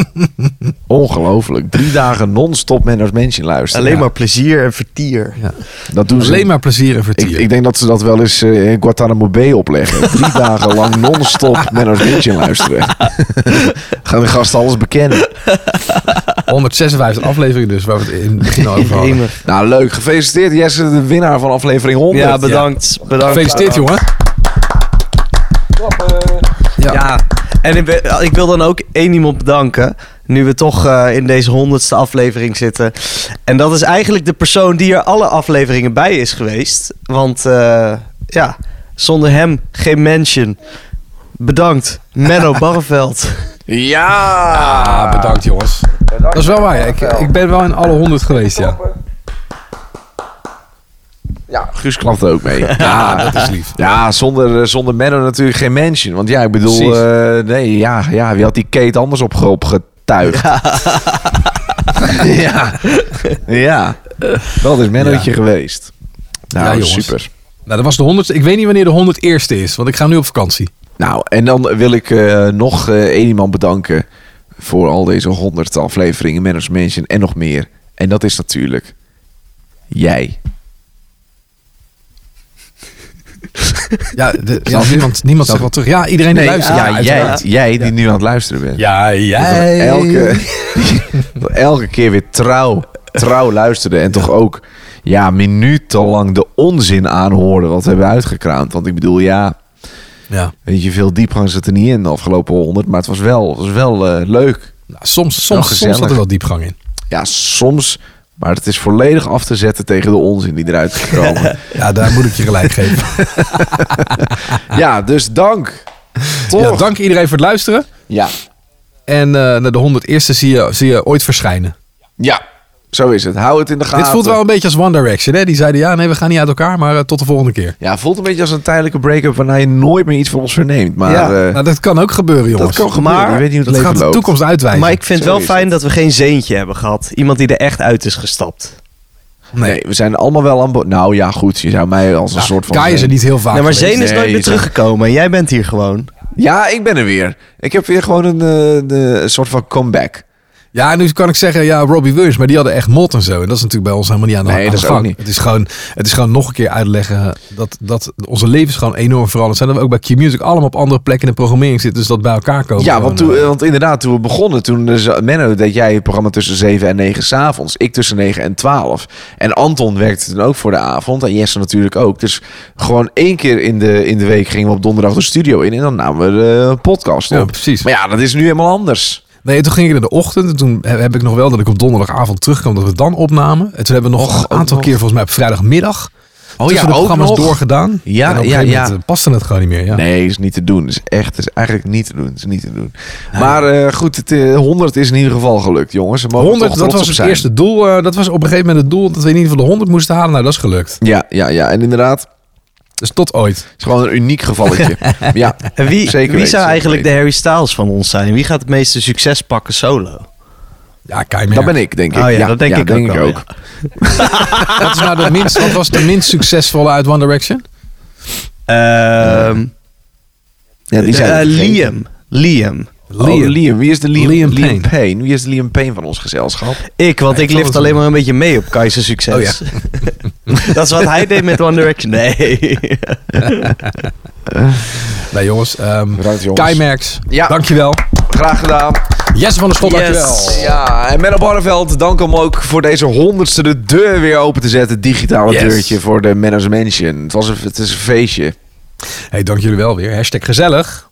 [SPEAKER 8] Ongelooflijk. Drie dagen non-stop men als mensen luisteren.
[SPEAKER 4] Alleen
[SPEAKER 8] Ja,
[SPEAKER 4] maar plezier en vertier.
[SPEAKER 8] Dat doen ze.
[SPEAKER 2] Alleen maar plezier en
[SPEAKER 8] Ik,
[SPEAKER 2] vertier.
[SPEAKER 8] ik denk dat ze dat wel eens eh, in Guantanamo Bay opleggen. Drie dagen lang non-stop men als mensen luisteren. Gaan de gasten alles bekennen.
[SPEAKER 2] 156 afleveringen dus, waar we het in het begin al over hadden.
[SPEAKER 4] Jemig.
[SPEAKER 8] Nou, leuk. Gefeliciteerd Jesse, de winnaar van aflevering 100.
[SPEAKER 4] Ja, bedankt. bedankt.
[SPEAKER 2] Gefeliciteerd, jongen.
[SPEAKER 4] Ja. En ik, ben- ik wil dan ook één iemand bedanken. Nu we toch eh, in deze honderdste aflevering zitten. En dat is eigenlijk de persoon die er alle afleveringen bij is geweest. Want eh, ja, zonder hem geen mention. Bedankt, Menno Barreveld.
[SPEAKER 2] Ah, bedankt, jongens. dat is wel waar. ja. Ik, ik ben wel in alle 100 geweest, ja.
[SPEAKER 8] Guus klapt ook mee.
[SPEAKER 2] Ja, dat is lief.
[SPEAKER 8] Ja, zonder, eh, zonder Menno natuurlijk geen mention. Want ja, ik bedoel,
[SPEAKER 2] Precies.
[SPEAKER 8] eh, nee, ja, ja, wie had die Kate anders op, opgetuigd? Ja. ja. dat is Mennootje geweest. Nou,
[SPEAKER 2] Ja, jongens.
[SPEAKER 8] super.
[SPEAKER 2] Nou, dat was de 100 Ik weet niet wanneer de 101ste is, want ik ga nu op vakantie.
[SPEAKER 8] Nou, en dan wil ik eh, nog eh, één iemand bedanken voor al deze honderd afleveringen, Menno's Mansion en nog meer. En dat is natuurlijk jij.
[SPEAKER 2] Ja, de- ja, niemand, niemand zegt wat terug. Ja, iedereen die
[SPEAKER 8] Nee,
[SPEAKER 2] luistert.
[SPEAKER 8] ja, jij,
[SPEAKER 2] uiteraard.
[SPEAKER 8] jij die nu aan het luisteren bent.
[SPEAKER 2] Ja, jij.
[SPEAKER 8] Elke, elke keer weer trouw, trouw luisterde. En toch ook ja, minutenlang de onzin aanhoorde wat we hebben uitgekraamd. Want ik bedoel, ja,
[SPEAKER 2] Ja.
[SPEAKER 8] weet je, veel diepgang zat er niet in de afgelopen honderd. Maar het was wel, het was wel eh, leuk.
[SPEAKER 2] Nou, soms,
[SPEAKER 8] Wel
[SPEAKER 2] soms, soms
[SPEAKER 8] gezellig.
[SPEAKER 2] zat er wel diepgang in.
[SPEAKER 8] Ja, soms. Maar het is volledig af te zetten tegen de onzin die eruit is gekomen.
[SPEAKER 2] Ja, daar moet ik je gelijk geven.
[SPEAKER 8] ja, dus dank. Toch?
[SPEAKER 2] Ja, dank iedereen voor het luisteren.
[SPEAKER 8] Ja.
[SPEAKER 2] En eh, de 101ste zie je, zie je ooit verschijnen.
[SPEAKER 8] ja, zo is het. Hou het in de gaten.
[SPEAKER 2] Dit voelt wel een beetje als One Direction. Hè? Die zeiden ja, nee, we gaan niet uit elkaar, maar eh, tot de volgende keer.
[SPEAKER 8] Ja, voelt een beetje als een tijdelijke break-up waarna je nooit meer iets van ons verneemt. Maar
[SPEAKER 2] ja,
[SPEAKER 8] eh,
[SPEAKER 2] nou, dat kan ook gebeuren, jongens.
[SPEAKER 8] dat kan gebeuren.
[SPEAKER 4] maar
[SPEAKER 8] je weet niet hoe het
[SPEAKER 2] Dat
[SPEAKER 8] leven
[SPEAKER 2] gaat de
[SPEAKER 8] loopt.
[SPEAKER 2] toekomst uitwijzen.
[SPEAKER 4] Maar ik vind het
[SPEAKER 8] Zo
[SPEAKER 4] wel
[SPEAKER 8] is
[SPEAKER 4] fijn dat we geen zeentje hebben gehad. Iemand die er echt uit is gestapt.
[SPEAKER 8] Nee. we zijn allemaal wel aan boord. Nou ja, goed. Je zou mij als een
[SPEAKER 2] Ja,
[SPEAKER 8] soort van... eh,
[SPEAKER 2] Kai nou, is er niet heel vaak
[SPEAKER 4] nee, maar
[SPEAKER 2] geweest.
[SPEAKER 4] Zeen is nooit
[SPEAKER 8] Nee,
[SPEAKER 4] meer
[SPEAKER 8] je zegt-
[SPEAKER 4] teruggekomen. En jij bent hier gewoon.
[SPEAKER 8] Ja, ik ben er weer. Ik heb weer gewoon een, eh, de- een soort van comeback.
[SPEAKER 2] Ja, nu kan ik zeggen, ja, Robbie Williams, maar die hadden echt mot en zo. En dat is natuurlijk bij ons helemaal niet aan de,
[SPEAKER 8] Nee,
[SPEAKER 2] aan de
[SPEAKER 8] dat is
[SPEAKER 2] gang.
[SPEAKER 8] ook niet.
[SPEAKER 2] Het, is gewoon, het is gewoon nog een keer uitleggen dat, dat onze levens gewoon enorm veranderd zijn. Dat we ook bij Q-Music allemaal op andere plekken in de programmering zitten. Dus dat bij elkaar komen.
[SPEAKER 8] Ja,
[SPEAKER 2] gewoon,
[SPEAKER 8] want, toen,
[SPEAKER 2] eh,
[SPEAKER 8] eh, want inderdaad, toen we begonnen, toen eh, za- Menno, deed jij het programma tussen 7 en 9 s'avonds. Ik tussen 9 en 12. En Anton werkte toen ook voor de avond. En Jesse natuurlijk ook. Dus gewoon één keer in de, in de week gingen we op donderdag de studio in. En dan namen we de eh, podcast op.
[SPEAKER 2] Ja, precies.
[SPEAKER 8] Maar ja, dat is nu helemaal anders.
[SPEAKER 2] Nee, toen ging ik in de ochtend. En toen heb heb ik nog wel dat ik op donderdagavond terugkwam dat we dan opnamen. En toen hebben we nog een aantal keer volgens mij op vrijdagmiddag oh,
[SPEAKER 8] ja,
[SPEAKER 2] de
[SPEAKER 8] ook
[SPEAKER 2] programma's
[SPEAKER 8] nog.
[SPEAKER 2] doorgedaan.
[SPEAKER 8] Ja,
[SPEAKER 2] en op een
[SPEAKER 8] ja,
[SPEAKER 2] gegeven
[SPEAKER 8] ja.
[SPEAKER 2] moment eh, paste het gewoon niet meer. Ja.
[SPEAKER 4] Ah.
[SPEAKER 8] Nee, is niet te doen. Is echt, is eigenlijk niet te doen. Is niet te doen. Maar eh, goed, het, eh, 100 is in ieder geval gelukt, jongens. We mogen er
[SPEAKER 2] 100,
[SPEAKER 8] toch
[SPEAKER 2] dat
[SPEAKER 8] trots
[SPEAKER 2] was het
[SPEAKER 8] op zijn.
[SPEAKER 2] eerste doel. eh, dat was op een gegeven moment het doel dat we in ieder geval de 100 moesten halen. Nou, dat is gelukt.
[SPEAKER 8] Ja, ja, ja. En inderdaad,
[SPEAKER 2] Dus tot ooit.
[SPEAKER 8] het is gewoon een uniek gevalletje. ja,
[SPEAKER 4] En wie,
[SPEAKER 8] Zeker
[SPEAKER 4] wie
[SPEAKER 8] weten,
[SPEAKER 4] zou
[SPEAKER 8] zeker
[SPEAKER 4] eigenlijk de
[SPEAKER 8] weten.
[SPEAKER 4] Harry Styles van ons zijn? Wie gaat het meeste succes pakken solo?
[SPEAKER 2] Ja, kei
[SPEAKER 8] dat ben ik, denk ik.
[SPEAKER 4] Oh ja, dat denk ik ook wel,
[SPEAKER 2] Wat, is nou de minst, wat was de minst succesvolle uit One Direction?
[SPEAKER 4] Ehm,
[SPEAKER 8] Ja,
[SPEAKER 4] eh,
[SPEAKER 8] die zijn we vergeten.
[SPEAKER 4] Liam. Liam.
[SPEAKER 8] Oh, Liam. Wie is de Liam,
[SPEAKER 2] Liam
[SPEAKER 8] Liam,
[SPEAKER 2] Payne.
[SPEAKER 8] Payne. Wie is de Liam Payne van ons gezelschap?
[SPEAKER 4] Ik, want ik
[SPEAKER 2] ik zal
[SPEAKER 4] lift
[SPEAKER 2] het
[SPEAKER 4] alleen
[SPEAKER 2] doen.
[SPEAKER 4] maar een beetje mee op Kai's
[SPEAKER 8] Oh
[SPEAKER 4] succes. dat is wat hij deed met One Direction. Nee.
[SPEAKER 2] Nee, jongens. ehm
[SPEAKER 8] Bedankt, jongens.
[SPEAKER 2] Kai Merks,
[SPEAKER 8] Ja.
[SPEAKER 2] dankjewel.
[SPEAKER 8] Graag gedaan.
[SPEAKER 2] Jesse van der Schot, dankjewel.
[SPEAKER 8] Ja, en Menno Barneveld, dank om ook voor deze honderdste de deur weer open te zetten. Digitale
[SPEAKER 2] Yes.
[SPEAKER 8] deurtje voor de Menno's Mansion. Het, was een, het is een feestje.
[SPEAKER 2] Hey, dank jullie wel weer. Hashtag gezellig.